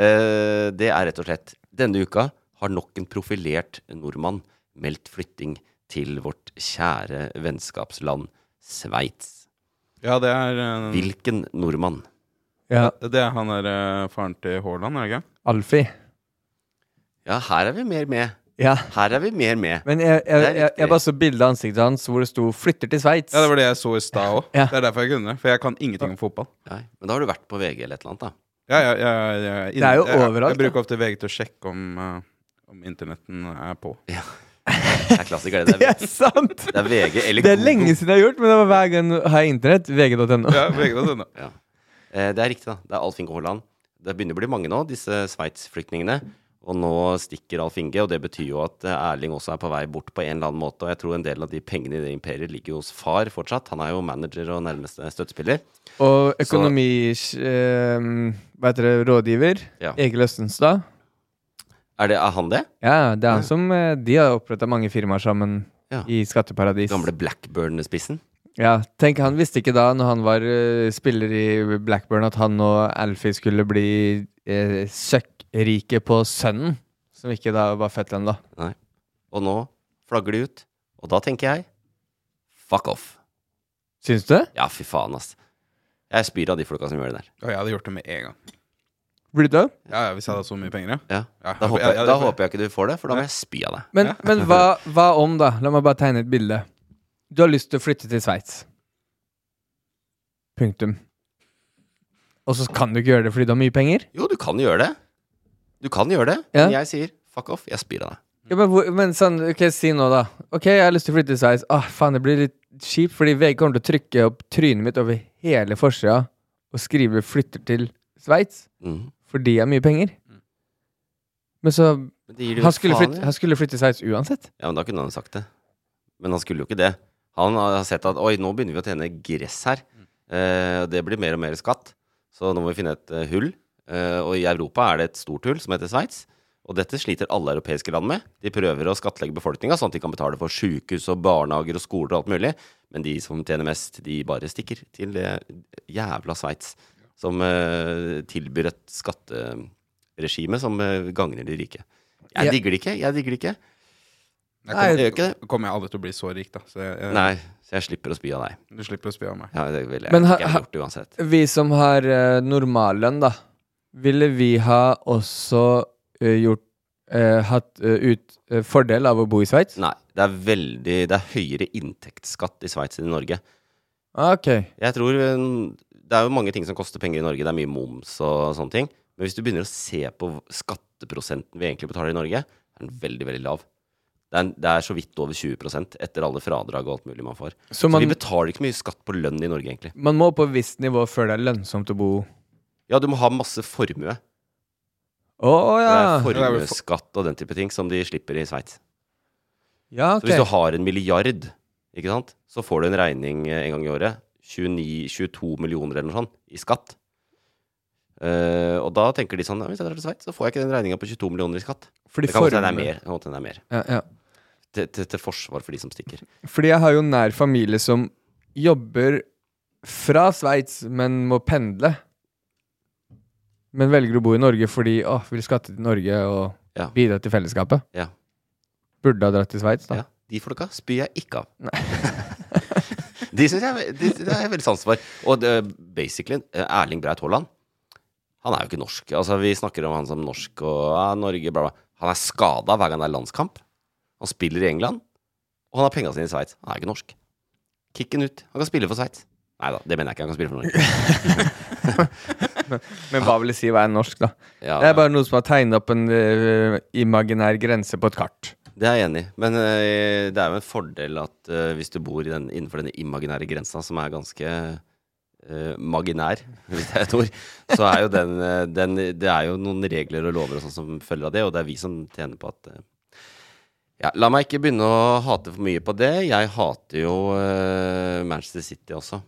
Speaker 1: Eh, det er rett og slett Denne uka har nok en profilert nordmann meldt flytting til vårt kjære vennskapsland Sveits.
Speaker 4: Ja, det er eh,
Speaker 1: Hvilken nordmann?
Speaker 2: Ja.
Speaker 4: Det er han der eh, faren til Haaland, er det ikke?
Speaker 2: Alfie.
Speaker 1: Ja, her er vi mer med.
Speaker 2: Ja.
Speaker 1: Her er vi mer med.
Speaker 2: Men jeg, jeg,
Speaker 1: Det er
Speaker 2: jeg, jeg
Speaker 1: riktig.
Speaker 2: bare så bildet av ansiktet hans hvor det sto 'flytter til Sveits'. *laughs*
Speaker 4: Ja, det var det jeg så i stad òg.
Speaker 2: Ja.
Speaker 4: Det er derfor jeg kunne det. For jeg kan ingenting om fotball.
Speaker 1: Nei, men da har du vært på VG eller et eller annet, da.
Speaker 4: Ja, ja, ja, ja, ja.
Speaker 2: Det er jo
Speaker 4: Jeg-
Speaker 2: overalt,
Speaker 4: Jeg, jeg bruker ofte VG til å sjekke om, eh, om internetten er på.
Speaker 1: Det er klassiker,
Speaker 2: *laughs*
Speaker 1: det.
Speaker 2: Det
Speaker 1: Det
Speaker 2: er
Speaker 1: er,
Speaker 2: sant!
Speaker 1: det er VG eller
Speaker 2: Det er
Speaker 1: Google.
Speaker 2: lenge siden jeg har gjort, men det var hver gang har jeg internett. VG.no.
Speaker 4: Ja, VG sånn, da, den da.
Speaker 1: Ja. Eh, Det er riktig, da. Det er Alf Inge Haaland. Det begynner å bli mange nå, disse Sveits-flyktningene. Og nå stikker Alf Inge, og det betyr jo at eh, Erling også er på vei bort på en eller annen måte. Og jeg tror en del av de pengene i det imperiet ligger jo hos far fortsatt. Han er jo manager og nærmeste støttespiller.
Speaker 2: Og økonomi... eh, hva heter det? Rådgiver.
Speaker 1: Ja.
Speaker 2: Egil Østenstad.
Speaker 1: Er, det, er han det?
Speaker 2: Ja, det er han som eh, De har oppretta mange firmaer sammen i skatteparadis.
Speaker 1: Gamle Blackburn-spissen?
Speaker 2: Ja, tenk, han visste ikke da, når han var eh, spiller i Blackburn, at han og Alfie skulle bli uh, søkkrike på sønnen, som ikke da var født ennå.
Speaker 1: Nei. Og nå flagger de ut. Og da tenker jeg fuck off.
Speaker 2: Syns du?
Speaker 1: Ja, fy faen, ass. Jeg spyr av de folka som gjør det der.
Speaker 4: Og jeg hadde gjort det med en gang.
Speaker 2: Blir du død?
Speaker 4: Ja, ja, Hvis jeg hadde så mye penger, ja.
Speaker 1: Ja.
Speaker 4: Ja,
Speaker 1: Da, håper
Speaker 4: ja,
Speaker 1: jeg,
Speaker 4: ja, det
Speaker 1: da
Speaker 4: får jeg.
Speaker 1: håper jeg ikke du får det, for da må jeg spy av deg.
Speaker 2: Men, men hva, hva om, da? La meg bare tegne et bilde. Du har lyst til å flytte til Sveits. Punktum. Og så kan du ikke gjøre det fordi du har mye penger?
Speaker 1: Jo, du kan gjøre det. Du kan gjøre det,
Speaker 2: Ja.
Speaker 1: men jeg sier fuck off, jeg spyr av deg.
Speaker 2: Ja, men, hvor, men sånn, ok, si nå, da. Ok, jeg har lyst til å flytte til Sveits. Ah, faen, det blir litt kjipt, fordi VG kommer til å trykke opp trynet mitt over hele forsida og skrive 'flytter til Sveits'
Speaker 1: Mhm.
Speaker 2: fordi jeg har mye penger. Men så
Speaker 1: Men det gir det jo
Speaker 2: han, skulle
Speaker 1: faen i.
Speaker 2: flytte, han skulle flytte til Sveits uansett.
Speaker 1: Ja, men da kunne han sagt det. Men han skulle jo ikke det. Han har sett at oi, nå begynner vi å tjene gress her. Eh, og det blir mer og mer skatt. Så nå må vi finne et eh, hull. Eh, og i Europa er det et stort hull som heter Sveits. Og dette sliter alle europeiske land med. De prøver å skattlegge befolkninga, sånn at de kan betale for sjukehus og barnehager og skoler og alt mulig. Men de som tjener mest, de bare stikker til det jævla Sveits. Som eh, tilbyr et skatteregime som eh, gagner de rike. Jeg
Speaker 4: Ja.
Speaker 1: digger det ikke. Jeg digger det ikke. Nei,
Speaker 4: Jeg kommer,
Speaker 1: jeg gjør ikke
Speaker 4: kommer jeg aldri til å bli så rik, da. Så jeg, jeg,
Speaker 1: Nei, så jeg slipper å spy av deg.
Speaker 4: Du slipper å spy av meg.
Speaker 1: Ja, det ville jeg
Speaker 2: Men ha,
Speaker 1: ikke ha gjort uansett.
Speaker 2: ha, vi som har eh, normallønn, da, ville vi ha også eh, gjort eh, Hatt eh, ut eh, fordel av å bo i Sveits?
Speaker 1: Nei, det er veldig Det er høyere inntektsskatt i Sveits enn i Norge.
Speaker 2: Ok.
Speaker 1: Jeg tror eh, Det er jo mange ting som koster penger i Norge. Det er mye moms og sånne ting. Men hvis du begynner å se på hv- skatteprosenten vi egentlig betaler i Norge, er den veldig, veldig lav. Det er, en- det er så vidt over 20 etter alle fradrag og alt mulig man får.
Speaker 2: Så
Speaker 1: Så,
Speaker 2: man-
Speaker 1: vi betaler ikke mye skatt på lønn i Norge, egentlig.
Speaker 2: Man må på et visst nivå før det er lønnsomt å bo
Speaker 1: Ja, du må ha masse formue.
Speaker 2: Å ja!
Speaker 1: Det er formuesskatt og den type ting som de slipper i Sveits.
Speaker 2: Ja,
Speaker 1: Så hvis du
Speaker 2: ok.
Speaker 1: har en milliard, ikke sant, så får du en regning eh, en gang i året. 29, 22 millioner eller noe sånt i skatt. Eh, og da tenker de sånn «Ja, Hvis jeg drar til Sveits, så får jeg ikke den regninga på 22 millioner i skatt.
Speaker 2: Fordi
Speaker 1: det kan godt hende det er
Speaker 2: formue-
Speaker 1: mer. det kan godt hende det er mer.
Speaker 2: Ja, ja.
Speaker 1: Til, til, til forsvar for de som stikker.
Speaker 2: Fordi jeg har jo nær familie som jobber fra Sveits, men må pendle. Men velger å bo i Norge fordi å, vi vil skatte til Norge og
Speaker 1: Ja.
Speaker 2: bidra til fellesskapet.
Speaker 1: Ja.
Speaker 2: Burde ha dratt til Sveits, da.
Speaker 1: De folka spyr jeg ikke av. *laughs* de syns jeg de, Det har jeg veldig sans for. Og det, basically, eh, Erling Braut Haaland Han er jo ikke norsk. Altså, vi snakker om han som norsk og ja, Norge, bla, bla. Han er skada hver gang det er landskamp. Han spiller i England. Og han har penga sine i Sveits. Han er jo ikke norsk. Kick han ut. Han kan spille for Sveits. Nei da, det mener jeg ikke. Han kan spille for
Speaker 2: *laughs*
Speaker 1: Norge.
Speaker 2: Men hva vil det si å være norsk, da?
Speaker 1: Ja,
Speaker 2: det
Speaker 1: ja.
Speaker 2: er bare noen som har tegnet opp en eh, imaginær grense på et kart.
Speaker 1: Det er jeg enig i. Men eh, det er jo en fordel at eh, hvis du bor i den, innenfor denne imaginære grensa, som er ganske eh, maginær, *laughs* hvis det er et ord, så er jo den, eh, den Det er jo noen regler og lover og sånn som følger av det, og det er vi som tjener på at eh, ja, La meg ikke begynne å hate for mye på det. Jeg hater jo eh, Manchester City også,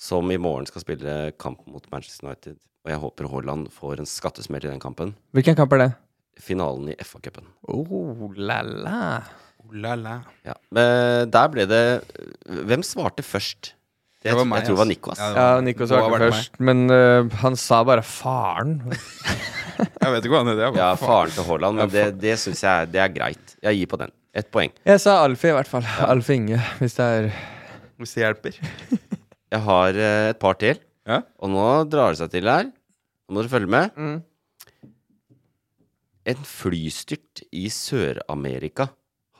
Speaker 1: som i morgen skal spille kamp mot Manchester United. Og jeg håper Haaland får en skattesmell i den kampen.
Speaker 2: Hvilken kamp er det?
Speaker 1: Finalen i FA-cupen.
Speaker 2: Oh, la la.
Speaker 4: Oh,
Speaker 1: Ja, men der ble det Hvem svarte først? Jeg,
Speaker 4: Det var meg,
Speaker 1: jeg tror det var
Speaker 4: ass.
Speaker 1: Nico. ass.
Speaker 4: Ja, det
Speaker 2: Ja, Nico svarte først, men eh, han sa bare 'faren'.
Speaker 4: Jeg vet ikke hva han heter. jeg bare,
Speaker 1: Ja,
Speaker 4: faen.
Speaker 1: faren til Haaland, men det, det syns jeg er- det er greit. Jeg gir på den. Ett poeng.
Speaker 2: Jeg sa Alfie, i hvert fall. Alf Inge, hvis det er
Speaker 4: Hvis det hjelper.
Speaker 1: Jeg har eh, et par til, og nå drar det seg til her. Nå må dere følge med.
Speaker 4: Mm.
Speaker 1: En flystyrt i Sør-Amerika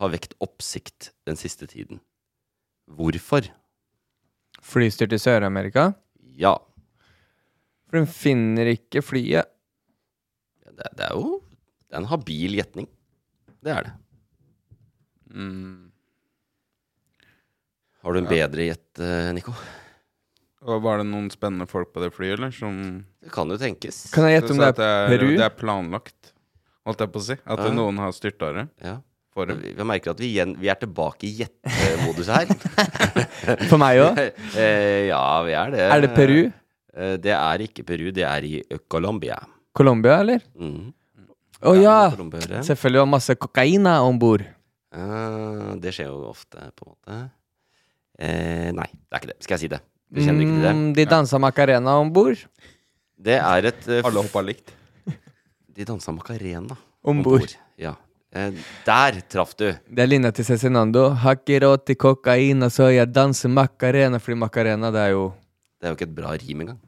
Speaker 1: har vekt oppsikt den siste tiden. Hvorfor?
Speaker 2: flystyrt i Sør-Amerika.
Speaker 1: Ja.
Speaker 2: For hun finner ikke flyet.
Speaker 1: Det, det er jo det er en habil gjetning. Det er det.
Speaker 4: Mm.
Speaker 1: Har du en bedre gjett, eh, Nico?
Speaker 4: Og Var det noen spennende folk på det flyet, eller? Som
Speaker 1: Det kan jo tenkes.
Speaker 2: Kan jeg gjette
Speaker 4: Så
Speaker 2: om det
Speaker 4: at
Speaker 2: er Peru?
Speaker 4: Det er planlagt, holdt jeg på å si. At
Speaker 1: Ja.
Speaker 4: noen har styrta det.
Speaker 1: Ja.
Speaker 4: For
Speaker 1: Men Vi, vi merker at vi, igjen, vi er tilbake i gjettemodus
Speaker 2: *laughs*
Speaker 1: her.
Speaker 2: For meg også?
Speaker 1: Eh, ja, vi er det.
Speaker 2: Er det Peru?
Speaker 1: Eh, Det er ikke Peru, det er i Colombia.
Speaker 2: Colombia, eller?
Speaker 1: Mm.
Speaker 2: Å ja!
Speaker 1: trombøret.
Speaker 2: Selvfølgelig var masse kokaina om bord.
Speaker 1: Ah, det skjer jo ofte, på en måte. Eh, nei, det er ikke det. Skal jeg si det? Du kjenner ikke til det?
Speaker 2: Mm, de dansa macarena om bord.
Speaker 1: Det er et eh,
Speaker 2: Alle
Speaker 4: hoppa likt.
Speaker 1: *laughs* De dansa macarena.
Speaker 2: Om bord.
Speaker 1: Ombord, Ja. Eh, der traff du.
Speaker 2: Det er linja til Cezinando. Har ikke råd til kokaina, så jeg danser macarena. Fordi macarena, det er jo
Speaker 1: Det er jo ikke et bra rim engang.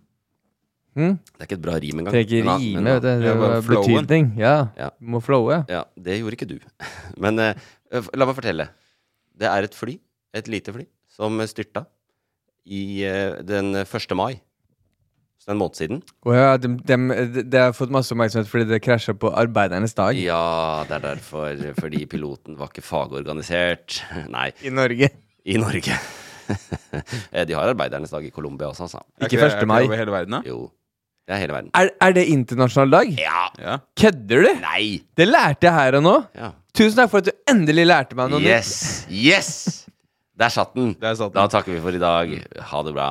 Speaker 2: hm?
Speaker 1: Det er ikke et bra rim engang.
Speaker 2: Trenger
Speaker 1: Men
Speaker 2: ikke
Speaker 1: da-
Speaker 2: rime,
Speaker 1: men da-
Speaker 2: vet du. Det er bare betydning. Ja.
Speaker 1: Ja.
Speaker 2: Du må flowe.
Speaker 1: Ja, det gjorde ikke du. *laughs* Men eh, f- la meg fortelle. Det er et fly, et lite fly, som styrta i eh, den 1. mai. Så det er en måned siden.
Speaker 2: Og ja, de, de, de har fått masse oppmerksomhet fordi det krasja på arbeidernes dag.
Speaker 1: Ja, det er derfor. Fordi piloten var ikke fagorganisert. *laughs* Nei.
Speaker 2: I Norge.
Speaker 1: I Norge. *laughs* Eh, De har arbeidernes dag i Colombia også, altså.
Speaker 2: Er ikke Ikke- er 1. ikke det mai? over
Speaker 4: hele verden, da?
Speaker 1: Jo. Det er hele verden.
Speaker 2: Er, er det internasjonal dag?
Speaker 1: Ja.
Speaker 2: Kødder du?
Speaker 1: Nei.
Speaker 2: Det lærte jeg her og nå.
Speaker 1: Ja.
Speaker 2: Tusen takk for at du endelig lærte meg noe nytt.
Speaker 1: Yes! Yes! Der satt den.
Speaker 4: sånn
Speaker 1: Da takker vi for i dag. Ha det bra.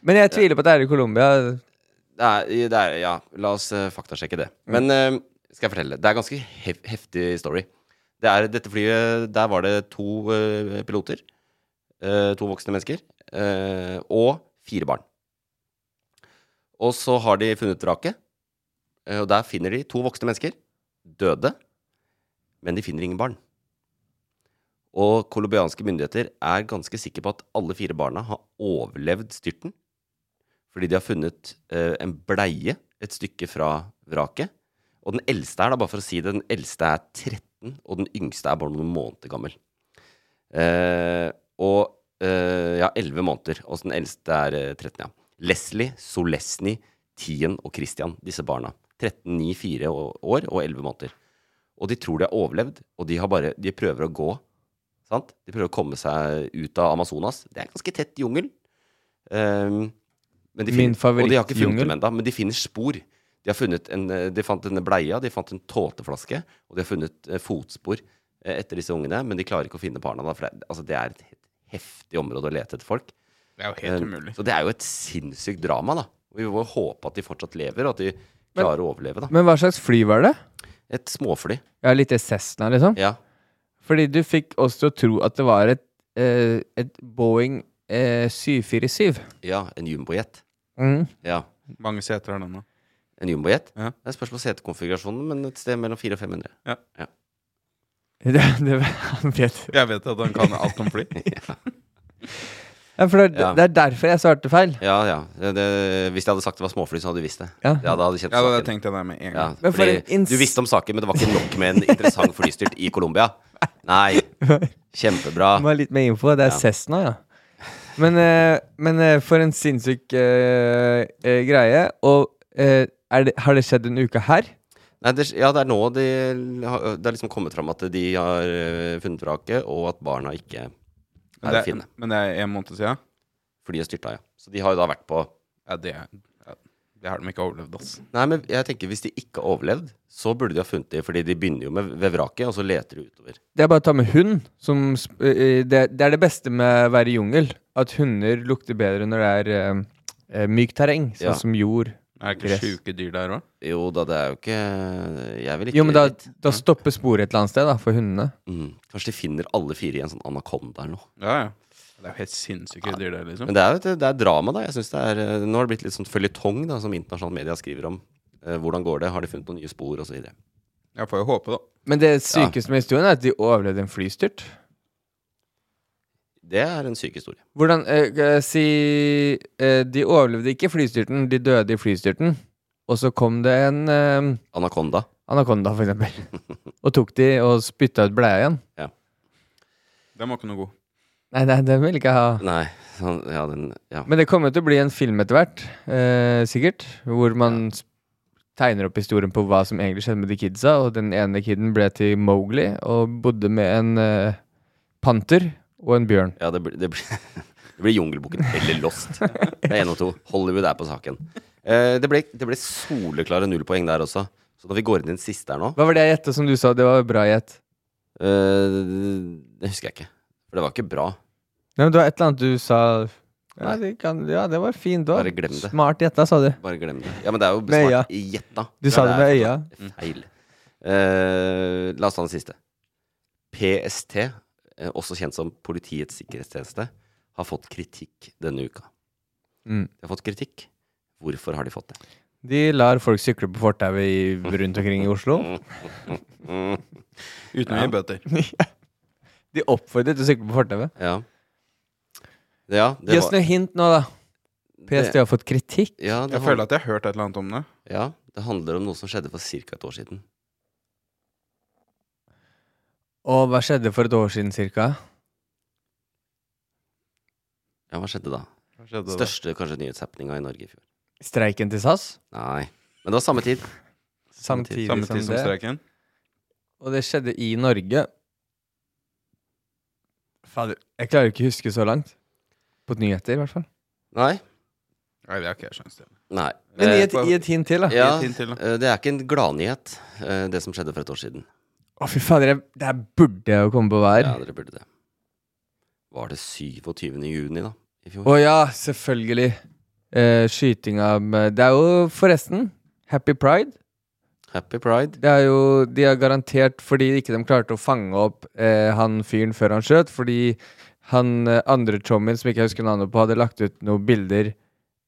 Speaker 2: Men jeg tviler på at det er i Colombia.
Speaker 1: Det er, det er, ja, la oss eh, faktasjekke det. Men eh, skal jeg fortelle. Det er ganske hef heftig story. Det er, dette flyet, der var det to eh, piloter. eh, to voksne mennesker. eh, og fire barn. Og så har de funnet vraket. eh, og der finner de to voksne mennesker. Døde. Men de finner ingen barn. Og colombianske myndigheter er ganske sikre på at alle fire barna har overlevd styrten. Fordi de har funnet eh, en bleie et stykke fra vraket. Og den eldste er, da, bare for å si det, den eldste er 13, og den yngste er bare noen måneder gammel. Eh, og eh, ja, 11 måneder. Og så den eldste er eh, 13, ja. Leslie, Solesny, Tien og Christian, disse barna. 13, 9, 4 å- år og 11 måneder. Og de tror de har overlevd, og de, har bare, de prøver å gå. Sant? De prøver å komme seg ut av Amazonas. Det er en ganske tett jungel. Ehm, men de
Speaker 2: Min
Speaker 1: finner, og de har ikke funnet
Speaker 2: favorittjungel.
Speaker 1: dem ennå, men de finner spor. De, har funnet en, eh, de fant denne bleia, de fant en tåteflaske, og de har funnet eh, fotspor eh, etter disse ungene, men de klarer ikke å finne barna. Da, for det, altså, det er et he- heftig område å lete etter folk.
Speaker 4: Det er jo helt
Speaker 1: Eh,
Speaker 4: umulig.
Speaker 1: Så det er jo et sinnssykt drama, da. Vi må håpe at de fortsatt lever, og at de
Speaker 2: Men-
Speaker 1: klarer å overleve, da.
Speaker 2: Men hva slags fly var det?
Speaker 1: Et småfly.
Speaker 2: Ja, litt Cessna, liksom?
Speaker 1: Ja.
Speaker 2: Fordi du fikk oss til å tro at det var et, eh, et Boeing eh, 747.
Speaker 1: Ja, en jumbojet.
Speaker 2: Mm. *laughs*
Speaker 1: Ja.
Speaker 4: Mange seter har den, da.
Speaker 1: En jumbojet?
Speaker 4: Ja.
Speaker 1: Det er et spørsmål om setekonfigurasjonen, men et sted mellom 400 og 500.
Speaker 4: Ja.
Speaker 1: Ja.
Speaker 2: Det, det, han *laughs* vet.
Speaker 4: Jeg vet at han
Speaker 1: *laughs*
Speaker 4: kan alt om fly.
Speaker 2: Ja, for det, er-
Speaker 1: Ja.
Speaker 2: det er derfor jeg svarte feil.
Speaker 1: Ja, ja. Det, det, hvis jeg hadde sagt det var småfly, så hadde du visst det.
Speaker 2: Ja.
Speaker 1: da
Speaker 2: *laughs*
Speaker 1: hadde du kjent
Speaker 4: Ja, da
Speaker 1: saken.
Speaker 4: tenkte jeg det med en
Speaker 1: Ja,
Speaker 4: gang.
Speaker 2: Men for
Speaker 1: fordi
Speaker 2: en ins-
Speaker 1: Du visste om saken, men det var ikke nok med en interessant flystyrt i Colombia. Nei. Kjempebra.
Speaker 2: Det var litt mer info. Det er
Speaker 1: Ja.
Speaker 2: Cessna, ja. Men, eh, men eh, for en sinnssyk eh, eh, greie. Og eh, er det, har det skjedd en uke her?
Speaker 1: Nei, det, ja, det er nå de har- Det er liksom kommet fram at de har øh, funnet vraket, og at barna ikke
Speaker 4: Men
Speaker 1: er å
Speaker 4: det,
Speaker 1: finne.
Speaker 4: men det er en måned siden?
Speaker 1: Flyet styrta, ja. Så de har jo da vært på
Speaker 4: Ja, det, er- ja, det har de ikke overlevd, ass.
Speaker 1: Nei, men jeg tenker hvis de ikke har overlevd, så burde de ha funnet dem, fordi de begynner jo med, ved vraket, og så leter de utover.
Speaker 2: Det er bare å ta med hund. Som, sp- eh, det, det er det beste med å være i jungel. At hunder lukter bedre når det er eh, eh, mykt terreng, sånn
Speaker 1: Ja.
Speaker 2: som jord.
Speaker 4: Er det ikke
Speaker 2: Gress.
Speaker 4: sjuke dyr der òg?
Speaker 1: Jo da, det er jo ikke Jeg vil ikke
Speaker 2: Jo, men da, da stopper sporet et eller annet sted, da, for hundene.
Speaker 1: mm, Kanskje de finner alle fire i en sånn anakonda eller noe.
Speaker 4: Ja, ja. Det er jo helt sinnssyke dyr der, liksom.
Speaker 1: Men det er jo et- det er drama, da. Jeg synes det er, eh, Nå har det blitt litt sånn føljetong da, som internasjonale medier skriver om. Eh, hvordan går det? Har de funnet noen nye spor? Og så videre.
Speaker 4: Jeg får jo håpe, da.
Speaker 2: Men det sykeste med historien er at de overlevde en flystyrt.
Speaker 1: Det er en syk historie.
Speaker 2: Hvordan eh, eh, Si eh, De overlevde ikke flystyrten, de døde i flystyrten. Og så kom det en eh,
Speaker 1: Anakonda.
Speaker 2: anakonda,
Speaker 1: *laughs*
Speaker 2: for eksempel. og tok de og spytta ut bleia igjen.
Speaker 4: Den var ikke noe god.
Speaker 2: Nei, nei, den vil ikke jeg ha.
Speaker 1: Nei, sånn, ja, den Ja.
Speaker 2: Men det kommer til å bli en film etter hvert, eh, sikkert. Hvor man s- tegner opp historien på hva som egentlig skjedde med de kidsa. Og den ene kiden ble til Mowgli og bodde med en eh, panter og en bjørn.
Speaker 1: ja det, blir- det, blir- *laughs* det blir Jungelboken eller Lost. Det er én og to. Hollywood er på saken. Eh, det, ble, det ble soleklare nullpoeng der også. Så når vi går inn i den siste her nå
Speaker 2: Hva var det jeg gjetta som du sa? Det var bra gjett.
Speaker 1: eh, Det husker jeg ikke. For det var ikke bra.
Speaker 2: Nei, men det var et eller annet du sa Ja,
Speaker 1: Nei.
Speaker 2: det, kan, ja, det var fint. Det var
Speaker 1: Bare glem det.
Speaker 2: Smart gjetta, sa du.
Speaker 1: Bare glem det. Ja, men det er jo
Speaker 2: Med øya.
Speaker 1: besvart i gjetta.
Speaker 2: Du sa det med øya.
Speaker 1: Feil. Eh, la oss ta den siste. PST, eh, også kjent som Politiets sikkerhetstjeneste, har fått kritikk denne uka.
Speaker 2: Mm.
Speaker 1: De har fått kritikk. Hvorfor har de fått det?
Speaker 2: De lar folk sykle på fortauet i- rundt omkring i
Speaker 1: *laughs*
Speaker 2: Oslo.
Speaker 4: Uten å gi bøter.
Speaker 2: De oppfordret til å sykle på fortauet.
Speaker 1: Ja. Ja, det
Speaker 2: Gi oss
Speaker 1: var-
Speaker 2: noe hint nå, da. PST har fått kritikk.
Speaker 1: Ja,
Speaker 4: Jeg føler at jeg har hørt et eller annet om det.
Speaker 1: Ja, det handler om noe som skjedde for ca. et år siden.
Speaker 2: Og hva skjedde for et år siden cirka?
Speaker 1: Ja, hva skjedde da?
Speaker 4: Hva skjedde da?
Speaker 1: Største kanskje nyhetshappeninga i Norge i fjor.
Speaker 2: Streiken til SAS?
Speaker 1: Nei. Men det var samme tid.
Speaker 2: Samtidig,
Speaker 4: Samme
Speaker 1: liksom
Speaker 4: tid som
Speaker 2: det.
Speaker 4: streiken?
Speaker 2: Og det skjedde i Norge. Fader, jeg klarer ikke å huske så langt. På nyheter, i hvert fall.
Speaker 1: Nei.
Speaker 4: Nei, det har ikke jeg skjønt. Stian.
Speaker 1: Nei.
Speaker 2: Men gi
Speaker 1: Eh,
Speaker 2: et, gi et hint til, da.
Speaker 1: Ja,
Speaker 4: Gi et hint til, da.
Speaker 1: eh, det er ikke en gladnyhet, eh, det som skjedde for et år siden.
Speaker 2: Å, fy fader, jeg, det her burde jeg jo komme på hver.
Speaker 1: Ja, dere burde det. Var det 27. juni, da? I fjor?
Speaker 2: Å ja, selvfølgelig. Eh, skytinga med Det er jo forresten Happy Pride.
Speaker 1: Happy Pride.
Speaker 2: Det er jo, de har garantert fordi ikke de klarte å fange opp eh, han fyren før han skjøt, fordi han eh, andre chommien som ikke jeg husker navnet på, hadde lagt ut noen bilder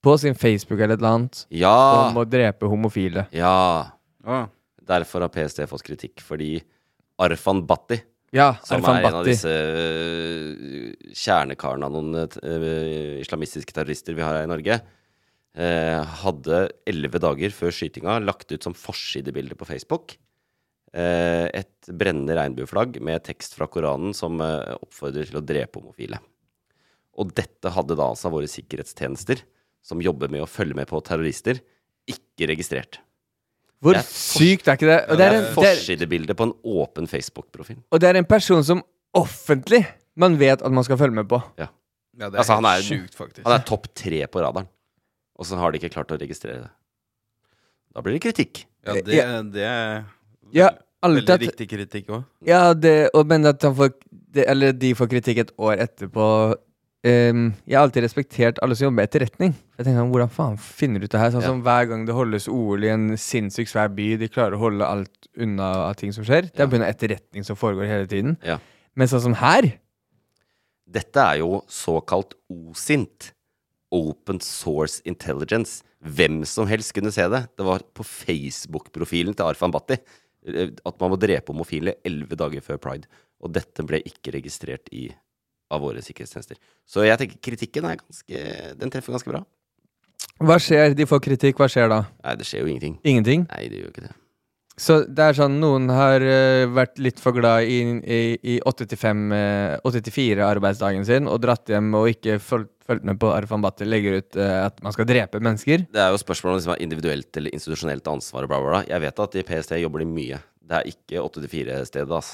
Speaker 2: på sin Facebook eller et eller annet
Speaker 1: Ja.
Speaker 2: om å drepe homofile.
Speaker 1: Ja.
Speaker 4: Ah.
Speaker 1: Derfor har PST fått kritikk, fordi Arfan Bhatti,
Speaker 2: Ja,
Speaker 1: som
Speaker 2: Arfan
Speaker 1: er en av
Speaker 2: Bhatti.
Speaker 1: disse øh, kjernekarene av noen øh, islamistiske terrorister vi har her i Norge, eh, hadde elleve dager før skytinga lagt ut som forsidebilde på Facebook eh, et brennende regnbueflagg med tekst fra Koranen som eh, oppfordrer til å drepe homofile. Og dette hadde da altså våre sikkerhetstjenester, som jobber med å følge med på terrorister, ikke registrert.
Speaker 2: Hvor
Speaker 1: Det er
Speaker 2: sykt er ikke det? Og det er, en, det, er,
Speaker 1: Forsidebilde på en åpen Facebook-profil.
Speaker 2: og det er en person som offentlig man vet at man skal følge med på.
Speaker 1: Ja.
Speaker 4: Ja, det er
Speaker 1: Altså, han er,
Speaker 4: helt sjukt, faktisk.
Speaker 1: han er topp tre på radaren, og så har de ikke klart å registrere det. Da blir det kritikk.
Speaker 4: Ja, det, det er
Speaker 2: Ja, aldri
Speaker 4: veldig
Speaker 2: tatt-
Speaker 4: riktig kritikk òg.
Speaker 2: Ja, det, og, men at han får det, Eller de får kritikk et år etterpå. Ehm, jeg har alltid respektert alle som jobber med etterretning. Jeg tenker, sånn, Hvordan faen finner du ut det her? Sånn
Speaker 1: Ja.
Speaker 2: som Hver gang det holdes OL i en sinnssykt svær by, de klarer å holde alt unna av ting som skjer. Det er pga. etterretning som foregår hele tiden.
Speaker 1: Ja.
Speaker 2: Men sånn som her
Speaker 1: Dette er jo såkalt OSINT. Open Source Intelligence. Hvem som helst kunne se det. Det var på Facebook-profilen til Arfan Bhatti eh, at man må drepe homofile elleve dager før pride. Og dette ble ikke registrert i, av våre sikkerhetstjenester. Så jeg tenker kritikken er ganske, den treffer ganske bra.
Speaker 2: Hva skjer? De får kritikk, hva skjer da?
Speaker 1: Nei, det skjer jo ingenting.
Speaker 2: Ingenting?
Speaker 1: Nei, det gjør jo ikke det.
Speaker 2: Så det er sånn, noen har eh, vært litt for glad i, i, i eh, 8-4-arbeidsdagen sin og dratt hjem og ikke fulgt, fulgt med på Arfan Bhatti legger ut eh, at man skal drepe mennesker.
Speaker 1: Det er jo spørsmål om liksom, individuelt eller institusjonelt ansvar og bla, bla, bla. Jeg vet at i PST jobber de mye. Det er ikke 8-4-stedet, ass.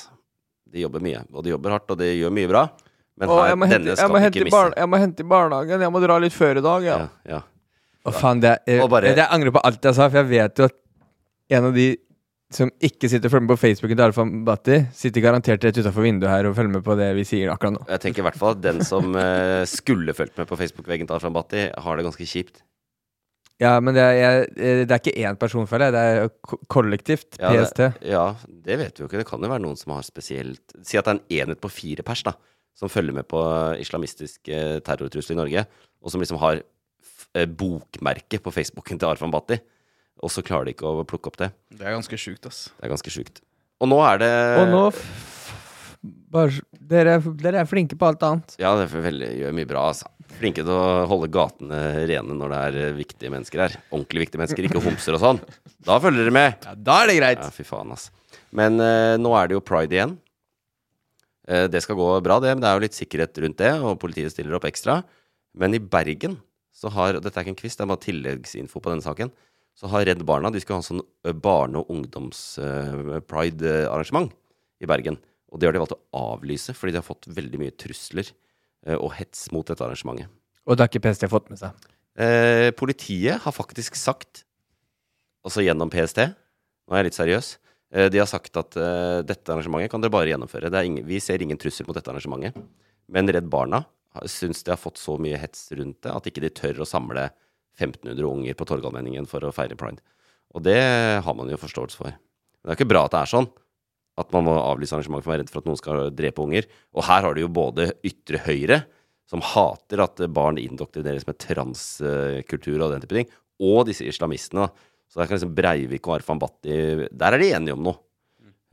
Speaker 1: De jobber mye, og de jobber hardt, og de gjør mye bra. Men
Speaker 2: Å,
Speaker 1: her,
Speaker 2: jeg må hente,
Speaker 1: denne
Speaker 2: jeg
Speaker 1: skal
Speaker 2: må
Speaker 1: vi
Speaker 2: hente
Speaker 1: ikke
Speaker 2: i
Speaker 1: miste.
Speaker 2: barn- jeg må hente i barnehagen, jeg må dra litt før i dag, ja.
Speaker 1: Ja, ja.
Speaker 2: Å faen, det er,
Speaker 1: Og bare-
Speaker 2: jeg, jeg angrer på alt jeg sa, for jeg vet jo at en av de som ikke sitter og følger med på Facebooken til Arfan Bhatti, sitter garantert rett utenfor vinduet her og følger med på det vi sier akkurat nå.
Speaker 1: Jeg tenker i hvert fall at den som eh, skulle fulgt med på Facebook-veggen til Arfan Bhatti, har det ganske kjipt.
Speaker 2: Ja, men det er, jeg, eh, det er ikke én person, føler jeg, det er ko- kollektivt,
Speaker 1: Ja,
Speaker 2: PST.
Speaker 1: Det, ja, det vet vi jo ikke. Det kan jo være noen som har spesielt Si at det er en enhet på fire pers da, som følger med på islamistisk eh, terrortrussel i Norge, og som liksom har f eh, bokmerke på Facebooken til Arfan Bhatti, og så klarer de ikke å plukke opp det.
Speaker 4: Det er ganske sjukt, ass.
Speaker 1: Det er ganske sjukt. Og nå er det
Speaker 2: Og nå f f- bare, s- dere, er- dere er flinke på alt annet.
Speaker 1: Ja, det er veldig, gjør mye bra, altså. Flinke til å holde gatene rene når det er eh, viktige mennesker her. Ordentlig viktige mennesker, ikke homser og sånn. Da følger dere med.
Speaker 2: Ja, da er det greit.
Speaker 1: Ja, fy faen, ass. Men eh, nå er det jo pride igjen. Eh, det skal gå bra, det, men det er jo litt sikkerhet rundt det, og politiet stiller opp ekstra. Men i Bergen så har og Dette er ikke en quiz, det er bare tilleggsinfo på denne saken. Så har Redd Barna De skulle ha en sånn eh, barne- og eh, ungdoms-pride-arrangement i Bergen. Og det har de valgt å avlyse, fordi de har fått veldig mye trusler eh, og hets mot dette arrangementet.
Speaker 2: Og det har ikke PST fått med seg.
Speaker 1: Eh, politiet har faktisk sagt, altså gjennom PST Nå er jeg litt seriøs. Eh, de har sagt at eh, dette arrangementet kan dere bare gjennomføre. Det er ingen, vi ser ingen trussel mot dette arrangementet. Men Redd Barna har- syns de har fått så mye hets rundt det at ikke de tør å samle 1500 unger på Torgallmenningen for å feire pride. Og det har man jo forståelse for. Men Det er ikke bra at det er sånn. At man må avlyse arrangement for man er redd for at noen skal drepe unger. Og her har du jo både ytre høyre, som hater at barn indoktrineres med transkultur og den type ting, og disse islamistene. da. Så der kan liksom Breivik og Arfan Bhatti Der er de enige om noe.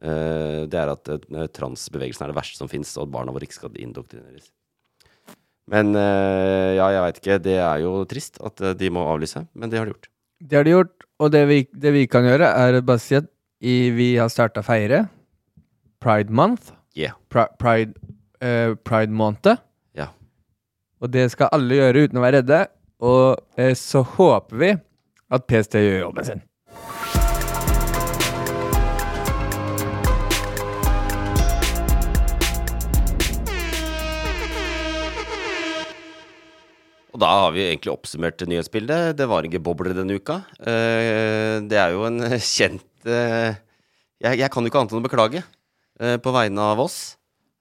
Speaker 1: Eh, det er at eh, transbevegelsen er det verste som fins, og at barna våre ikke skal indoktrineres. Men eh, ja, jeg veit ikke. Det er jo trist at eh, de må avlyse, men det har de gjort.
Speaker 2: Det har de gjort, og det vi, det vi kan gjøre, er å bare si at i, vi har starta å feire Pride Month.
Speaker 1: Yeah.
Speaker 2: Pri, pride eh, Pride måned.
Speaker 1: Ja.
Speaker 2: Og det skal alle gjøre uten å være redde. Og eh, så håper vi at PST gjør jobben sin.
Speaker 1: Og da har vi egentlig oppsummert nyhetsbildet. Det var ikke bobler denne uka. Eh, Det er jo en *laughs* kjent eh, Jeg, jeg kan jo ikke annet enn å beklage eh, på vegne av oss.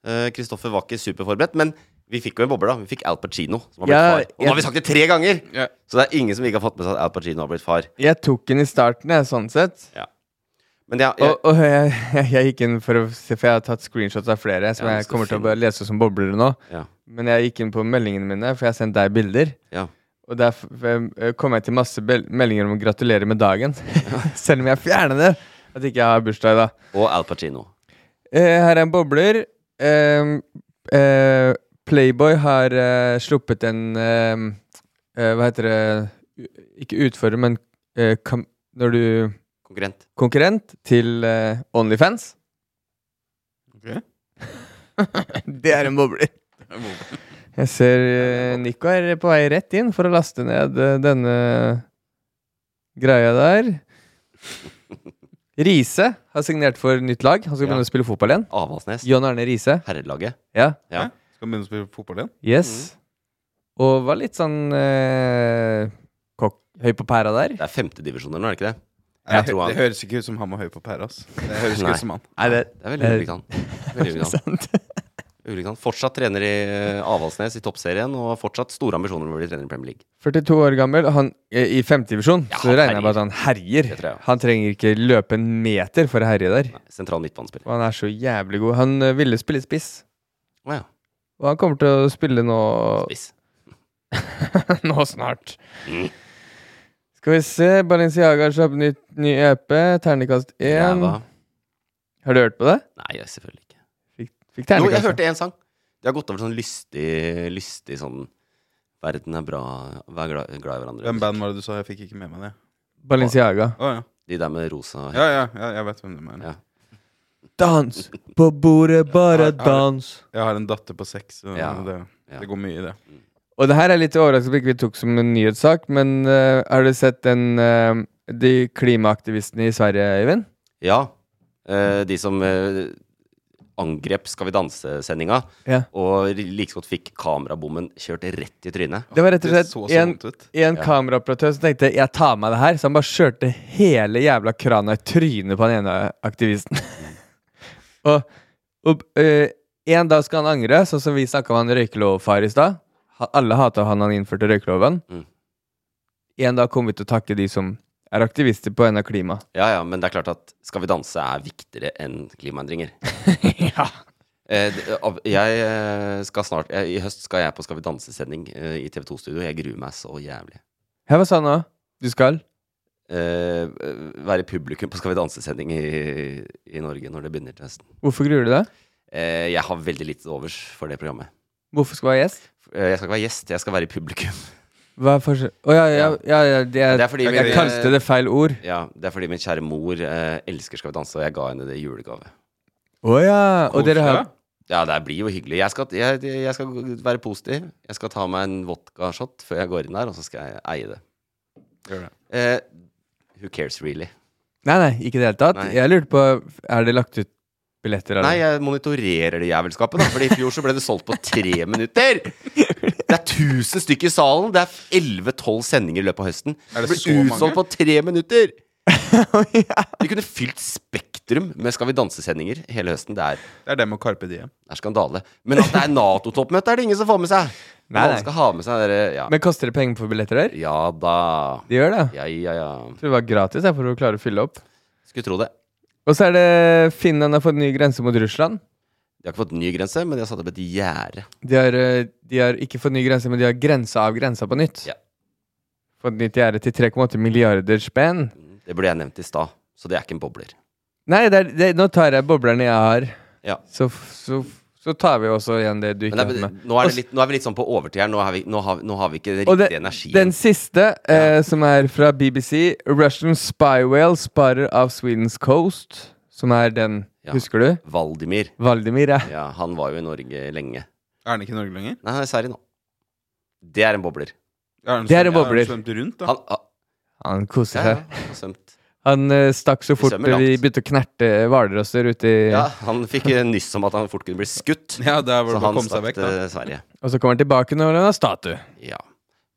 Speaker 1: Eh, Kristoffer var ikke superforberedt, men vi fikk jo en boble, da. Vi fikk Al Pacino, som har blitt
Speaker 2: Ja,
Speaker 1: far. Og nå har vi
Speaker 2: jeg-
Speaker 1: sagt det tre ganger! Så det er ingen som ikke har fått med seg at Al Pacino har blitt far.
Speaker 2: Jeg tok den i starten, jeg, sånn sett.
Speaker 1: Men jeg, jeg,
Speaker 2: Og, og jeg, *laughs* jeg gikk inn for å se, for jeg har tatt screenshots av flere som
Speaker 1: Ja, du
Speaker 2: jeg
Speaker 1: skal
Speaker 2: kommer til å
Speaker 1: finne.
Speaker 2: bare lese som bobler nå.
Speaker 1: Ja.
Speaker 2: Men jeg gikk inn på meldingene mine, for jeg har sendt deg bilder.
Speaker 1: Ja.
Speaker 2: Og der f- f- kom jeg til masse bel- meldinger om å gratulere med dagen. *laughs* Selv om jeg fjerner det. At ikke jeg har bursdag da.
Speaker 1: og Al Pacino.
Speaker 2: Eh, her er en bobler. Ehm, eh, Playboy har eh, sluppet en ehm, eh, Hva heter det U- Ikke utfordrer, men eh, kam når du
Speaker 1: Konkurrent. *laughs*
Speaker 2: Konkurrent til eh, Onlyfans. *laughs* det er en bobler. Jeg ser eh, Nico er på vei rett inn for å laste ned eh, denne greia der. Riise har signert for nytt lag. Han skal
Speaker 1: Ja.
Speaker 2: begynne å spille fotball igjen.
Speaker 1: Avaldsnes.
Speaker 2: John Arne Riise.
Speaker 1: Herrelaget.
Speaker 2: Ja.
Speaker 1: Ja.
Speaker 4: Skal begynne å spille fotball igjen?
Speaker 2: Yes.
Speaker 1: Mm.
Speaker 2: Og var litt sånn eh, kokk, høy på pæra der.
Speaker 1: Det er femtedivisjoner nå, er det ikke det?
Speaker 4: Nei,
Speaker 1: Jeg tror
Speaker 4: Det
Speaker 1: han
Speaker 4: høres ikke ut som han var høy på pæra. ass. Det høres
Speaker 1: Nei.
Speaker 4: ikke ut som han.
Speaker 2: Nei, det-
Speaker 1: Det er veldig
Speaker 2: Eh,
Speaker 1: ulikt han. Veldig ulikt
Speaker 2: *laughs*
Speaker 1: han. Ulikt han. Fortsatt trener i eh, Avaldsnes i toppserien, og fortsatt store ambisjoner om å bli trener i Premier League.
Speaker 2: 42 år gammel, han, eh, i femtedivisjon,
Speaker 1: Ja,
Speaker 2: så
Speaker 1: han
Speaker 2: regner jeg med
Speaker 1: herjer.
Speaker 2: at han herjer.
Speaker 1: Det tror jeg.
Speaker 2: Han trenger ikke løpe en meter for å herje der.
Speaker 1: Sentral midtbanespiller.
Speaker 2: Og han er så jævlig god. Han eh, ville spille spiss.
Speaker 1: Å ja.
Speaker 2: Og han kommer til å spille nå
Speaker 1: Spiss.
Speaker 2: *laughs* nå snart.
Speaker 1: Mm.
Speaker 2: Skal vi se. Balenciaga har slapp nytt ny EP. Terningkast én.
Speaker 1: Ræva.
Speaker 2: Har du hørt på det?
Speaker 1: Nei, jeg- selvfølgelig ikke.
Speaker 2: Fikk
Speaker 1: Jo, jeg
Speaker 2: terningkast.
Speaker 1: hørte én sang. De har gått over sånn lystig, lystig sånn Verden er bra, vær glad, glad i hverandre.
Speaker 4: Hvem band var det du sa? Jeg fikk ikke med meg det.
Speaker 2: Balenciaga.
Speaker 4: Å ja.
Speaker 1: De der med rosa
Speaker 4: Ja, ja, ja, jeg vet hvem du mener.
Speaker 1: Ja.
Speaker 2: Dans på bordet, bare
Speaker 4: Jeg har-
Speaker 2: dans.
Speaker 4: Jeg har en datter på seks, så
Speaker 1: Ja,
Speaker 4: det, det går mye i det.
Speaker 2: Og det her er litt overraskende at vi ikke tok som en nyhetssak, men eh, har du sett den eh, De klimaaktivistene i Sverige, Øyvind?
Speaker 1: Ja. eh, de som eh, angrep Skal vi danse-sendinga,
Speaker 2: Ja.
Speaker 1: og like så godt fikk kamerabommen kjørt rett i trynet.
Speaker 2: Det var rett og
Speaker 4: Det
Speaker 2: slett
Speaker 4: så så
Speaker 2: en,
Speaker 4: vondt ut.
Speaker 2: en
Speaker 1: Ja.
Speaker 2: kameraoperatør som tenkte 'jeg tar meg det her', så han bare kjørte hele jævla krana i trynet på den ene aktivisten. *laughs* og og eh, en dag skal han angre, sånn som vi snakka om han røykelovfar i stad. Ha- Alle hata han han innførte røykeloven.
Speaker 1: Mm.
Speaker 2: En dag kommer vi til å takke de som er aktivister på NA Klima.
Speaker 1: Ja, ja, men det er klart at Skal vi danse er viktigere enn klimaendringer.
Speaker 2: *laughs* ja.
Speaker 1: Eh, det- av- jeg eh, skal snart jeg, I høst skal jeg på Skal vi danse-sending eh, i TV 2-studio. Jeg gruer meg så jævlig.
Speaker 2: Her var sånn òg. Du skal?
Speaker 1: Eh, være publikum på Skal vi danse-sending i, i Norge når det begynner til høsten.
Speaker 2: Hvorfor gruer du deg?
Speaker 1: Eh, jeg har veldig lite til overs for det programmet.
Speaker 2: Hvorfor skal du være gjest?
Speaker 1: Eh, jeg skal ikke være gjest, jeg skal være i publikum.
Speaker 2: Hva er forskjell... Å ja, ja, ja, ja det er,
Speaker 1: Det er fordi
Speaker 2: Eh, Jeg
Speaker 1: vi-
Speaker 2: kalte det feil ord.
Speaker 1: Ja, Det er fordi min kjære mor eh, elsker Skal vi danse, og jeg ga henne det i julegave.
Speaker 2: Å ja. Og dere har
Speaker 4: Koselig,
Speaker 1: Ja, det blir jo hyggelig. Jeg skal, jeg, jeg skal være positiv. Jeg skal ta meg en vodkashot før jeg går inn der, og så skal jeg eie det.
Speaker 4: Gjør det.
Speaker 1: Eh, who cares, really?
Speaker 2: Nei, nei, ikke i det hele tatt.
Speaker 1: Nei.
Speaker 2: Jeg lurte på Er det lagt ut billetter? eller?
Speaker 1: Nei, jeg monitorerer det jævelskapet, da. Fordi i fjor så ble det solgt på tre minutter! Det er 1000 stykker i salen. Det er 11-12 sendinger i løpet av høsten. Det
Speaker 4: Er det
Speaker 1: ble
Speaker 4: så mange?
Speaker 1: utsolgt på tre minutter!
Speaker 2: *laughs*
Speaker 1: De kunne fylt Spektrum med Skal vi danse-sendinger hele høsten. Det er,
Speaker 4: Det er det med Carpe Diem.
Speaker 1: det er skandale. Men at det er Nato-toppmøte, er det ingen som får med seg! Men
Speaker 2: Nei,
Speaker 1: alle
Speaker 2: nei.
Speaker 1: skal ha med seg dere ja.
Speaker 2: Men koster det penger for billetter der?
Speaker 1: ja da.
Speaker 2: Det gjør det?
Speaker 1: Ja, ja, ja.
Speaker 2: Jeg tror det var gratis jeg, for å klare å fylle opp.
Speaker 1: Skulle tro det.
Speaker 2: Og så er det Finland har fått ny grense mot Russland.
Speaker 1: De har ikke fått ny grense, men de har satt opp et gjerde.
Speaker 2: De har, eh, de har ikke fått ny grense, men de har grensa av grensa på nytt. Fått nytt gjerde til 3,8 milliarder spenn.
Speaker 1: Det ble jeg nevnt i stad, så det er ikke en bobler.
Speaker 2: Nei, det er, det, nå tar jeg boblerne jeg har.
Speaker 1: Ja.
Speaker 2: Så, så, så tar vi også igjen det du
Speaker 1: Men
Speaker 2: ikke
Speaker 1: det
Speaker 2: har
Speaker 1: er,
Speaker 2: med.
Speaker 1: nå, er
Speaker 2: Og
Speaker 1: det litt, nå er vi litt sånn på overtid her. Nå har vi, nå har, vi- nå har vi ikke den
Speaker 2: Og
Speaker 1: riktige
Speaker 2: det-
Speaker 1: energien.
Speaker 2: Den siste, eh, som er fra BBC Russian spy whale sparer av Sweden's coast. Som er den, husker du?
Speaker 1: Valdimir.
Speaker 2: Valdimir, ja.
Speaker 1: Ja, han var jo i Norge lenge.
Speaker 4: Er han ikke i Norge lenger?
Speaker 1: Nei, han er i Sverige nå. Det er en bobler.
Speaker 4: han
Speaker 2: Det er en
Speaker 4: svømt-
Speaker 2: bobler.
Speaker 4: han svømt rundt, da?
Speaker 1: Han, ah,
Speaker 2: Han koser
Speaker 1: Ja, ja,
Speaker 2: seg.
Speaker 1: *laughs* han har svømt.
Speaker 2: Han eh, stakk så
Speaker 1: Vi
Speaker 2: fort
Speaker 1: svømmer langt.
Speaker 2: vi begynte å knerte hvalrosser ute i
Speaker 1: ja, han fikk eh, nyss om at han fort kunne bli skutt.
Speaker 4: Ja, der var
Speaker 1: så
Speaker 4: det bare å
Speaker 1: han
Speaker 4: komme seg vekk,
Speaker 1: stakk
Speaker 4: *laughs* da.
Speaker 1: til Sverige.
Speaker 2: Og så kommer han tilbake når han har statue.
Speaker 1: Ja.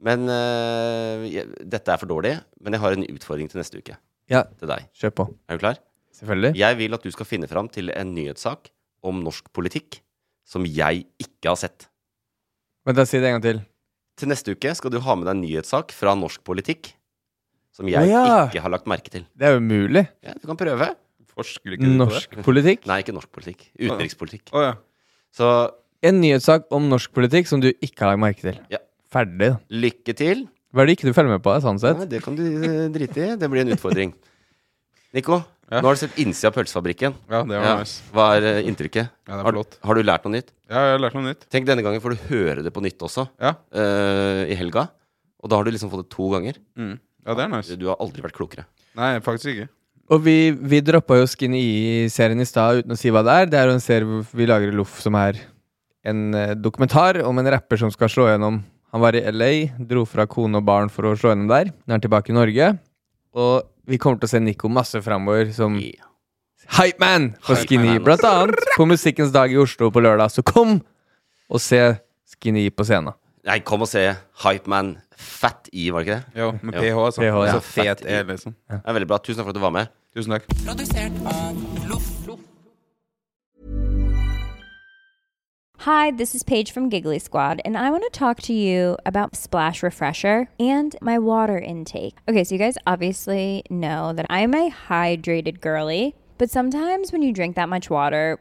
Speaker 1: Men eh, jeg, dette er for dårlig, men jeg har en utfordring til neste uke.
Speaker 2: Ja.
Speaker 1: Til deg.
Speaker 2: Kjør på.
Speaker 1: Er du klar?
Speaker 2: Selvfølgelig.
Speaker 1: Jeg vil at du skal finne fram til en nyhetssak om norsk politikk som jeg ikke har sett.
Speaker 2: Men da si det en gang til.
Speaker 1: Til neste uke skal du ha med deg en nyhetssak fra norsk politikk som jeg
Speaker 2: Å ja.
Speaker 1: ikke har lagt merke til.
Speaker 2: Det er jo umulig.
Speaker 1: Ja, du kan prøve.
Speaker 4: Forsker
Speaker 2: Norsk politikk?
Speaker 1: Nei, ikke norsk politikk. Utenrikspolitikk.
Speaker 4: Å, ja.
Speaker 1: Så
Speaker 2: En nyhetssak om norsk politikk som du ikke har lagt merke til.
Speaker 1: Ja.
Speaker 2: Ferdig. da.
Speaker 1: lykke til.
Speaker 2: Hva er det ikke du følger med på? sånn sett?
Speaker 1: Nei, det kan du eh, drite i. Det blir en utfordring. Nico, nå har du sett innsida av pølsefabrikken.
Speaker 4: Ja, det var nice.
Speaker 1: Hva er eh, inntrykket?
Speaker 4: Ja, det er
Speaker 1: Har-
Speaker 4: flott.
Speaker 1: Har, du lært noe nytt?
Speaker 4: Ja, jeg har lært noe nytt.
Speaker 1: Tenk, denne gangen får du høre det på nytt også. eh, I helga. Og da har du liksom fått det to ganger.
Speaker 4: Mm. Ja, det er nice.
Speaker 1: Du har aldri vært klokere.
Speaker 4: Nei, faktisk ikke.
Speaker 2: Og vi, vi droppa jo Skinny E-serien i stad uten å si hva det er. Det er jo en serie hvor vi lager i Loff som er en eh, dokumentar om en rapper som skal slå gjennom. Han var i LA, dro fra kone og barn for å slå gjennom der. Nå er han tilbake i Norge. Og vi kommer til å se Nico masse framover som Hype Man for
Speaker 1: Hype
Speaker 2: Skinny.
Speaker 1: Man,
Speaker 2: Blant annet på Musikkens dag i Oslo på lørdag. Så kom og se Skinny på scenen.
Speaker 1: Nei, kom og se Hypeman Fat E, var det ikke det?
Speaker 4: Jo, med PH, altså.
Speaker 2: PH, ja.
Speaker 1: Altså, Fat
Speaker 4: Fet
Speaker 1: E.
Speaker 4: E, liksom.
Speaker 1: Det er veldig bra. Tusen takk for at du var med.
Speaker 4: Tusen takk.
Speaker 9: Hi, this is Paige from Giggly Squad, and I want to talk to you about Splash Refresher and my water intake. Okay, so you guys obviously know that I'm a hydrated girly, but sometimes when you drink that much water,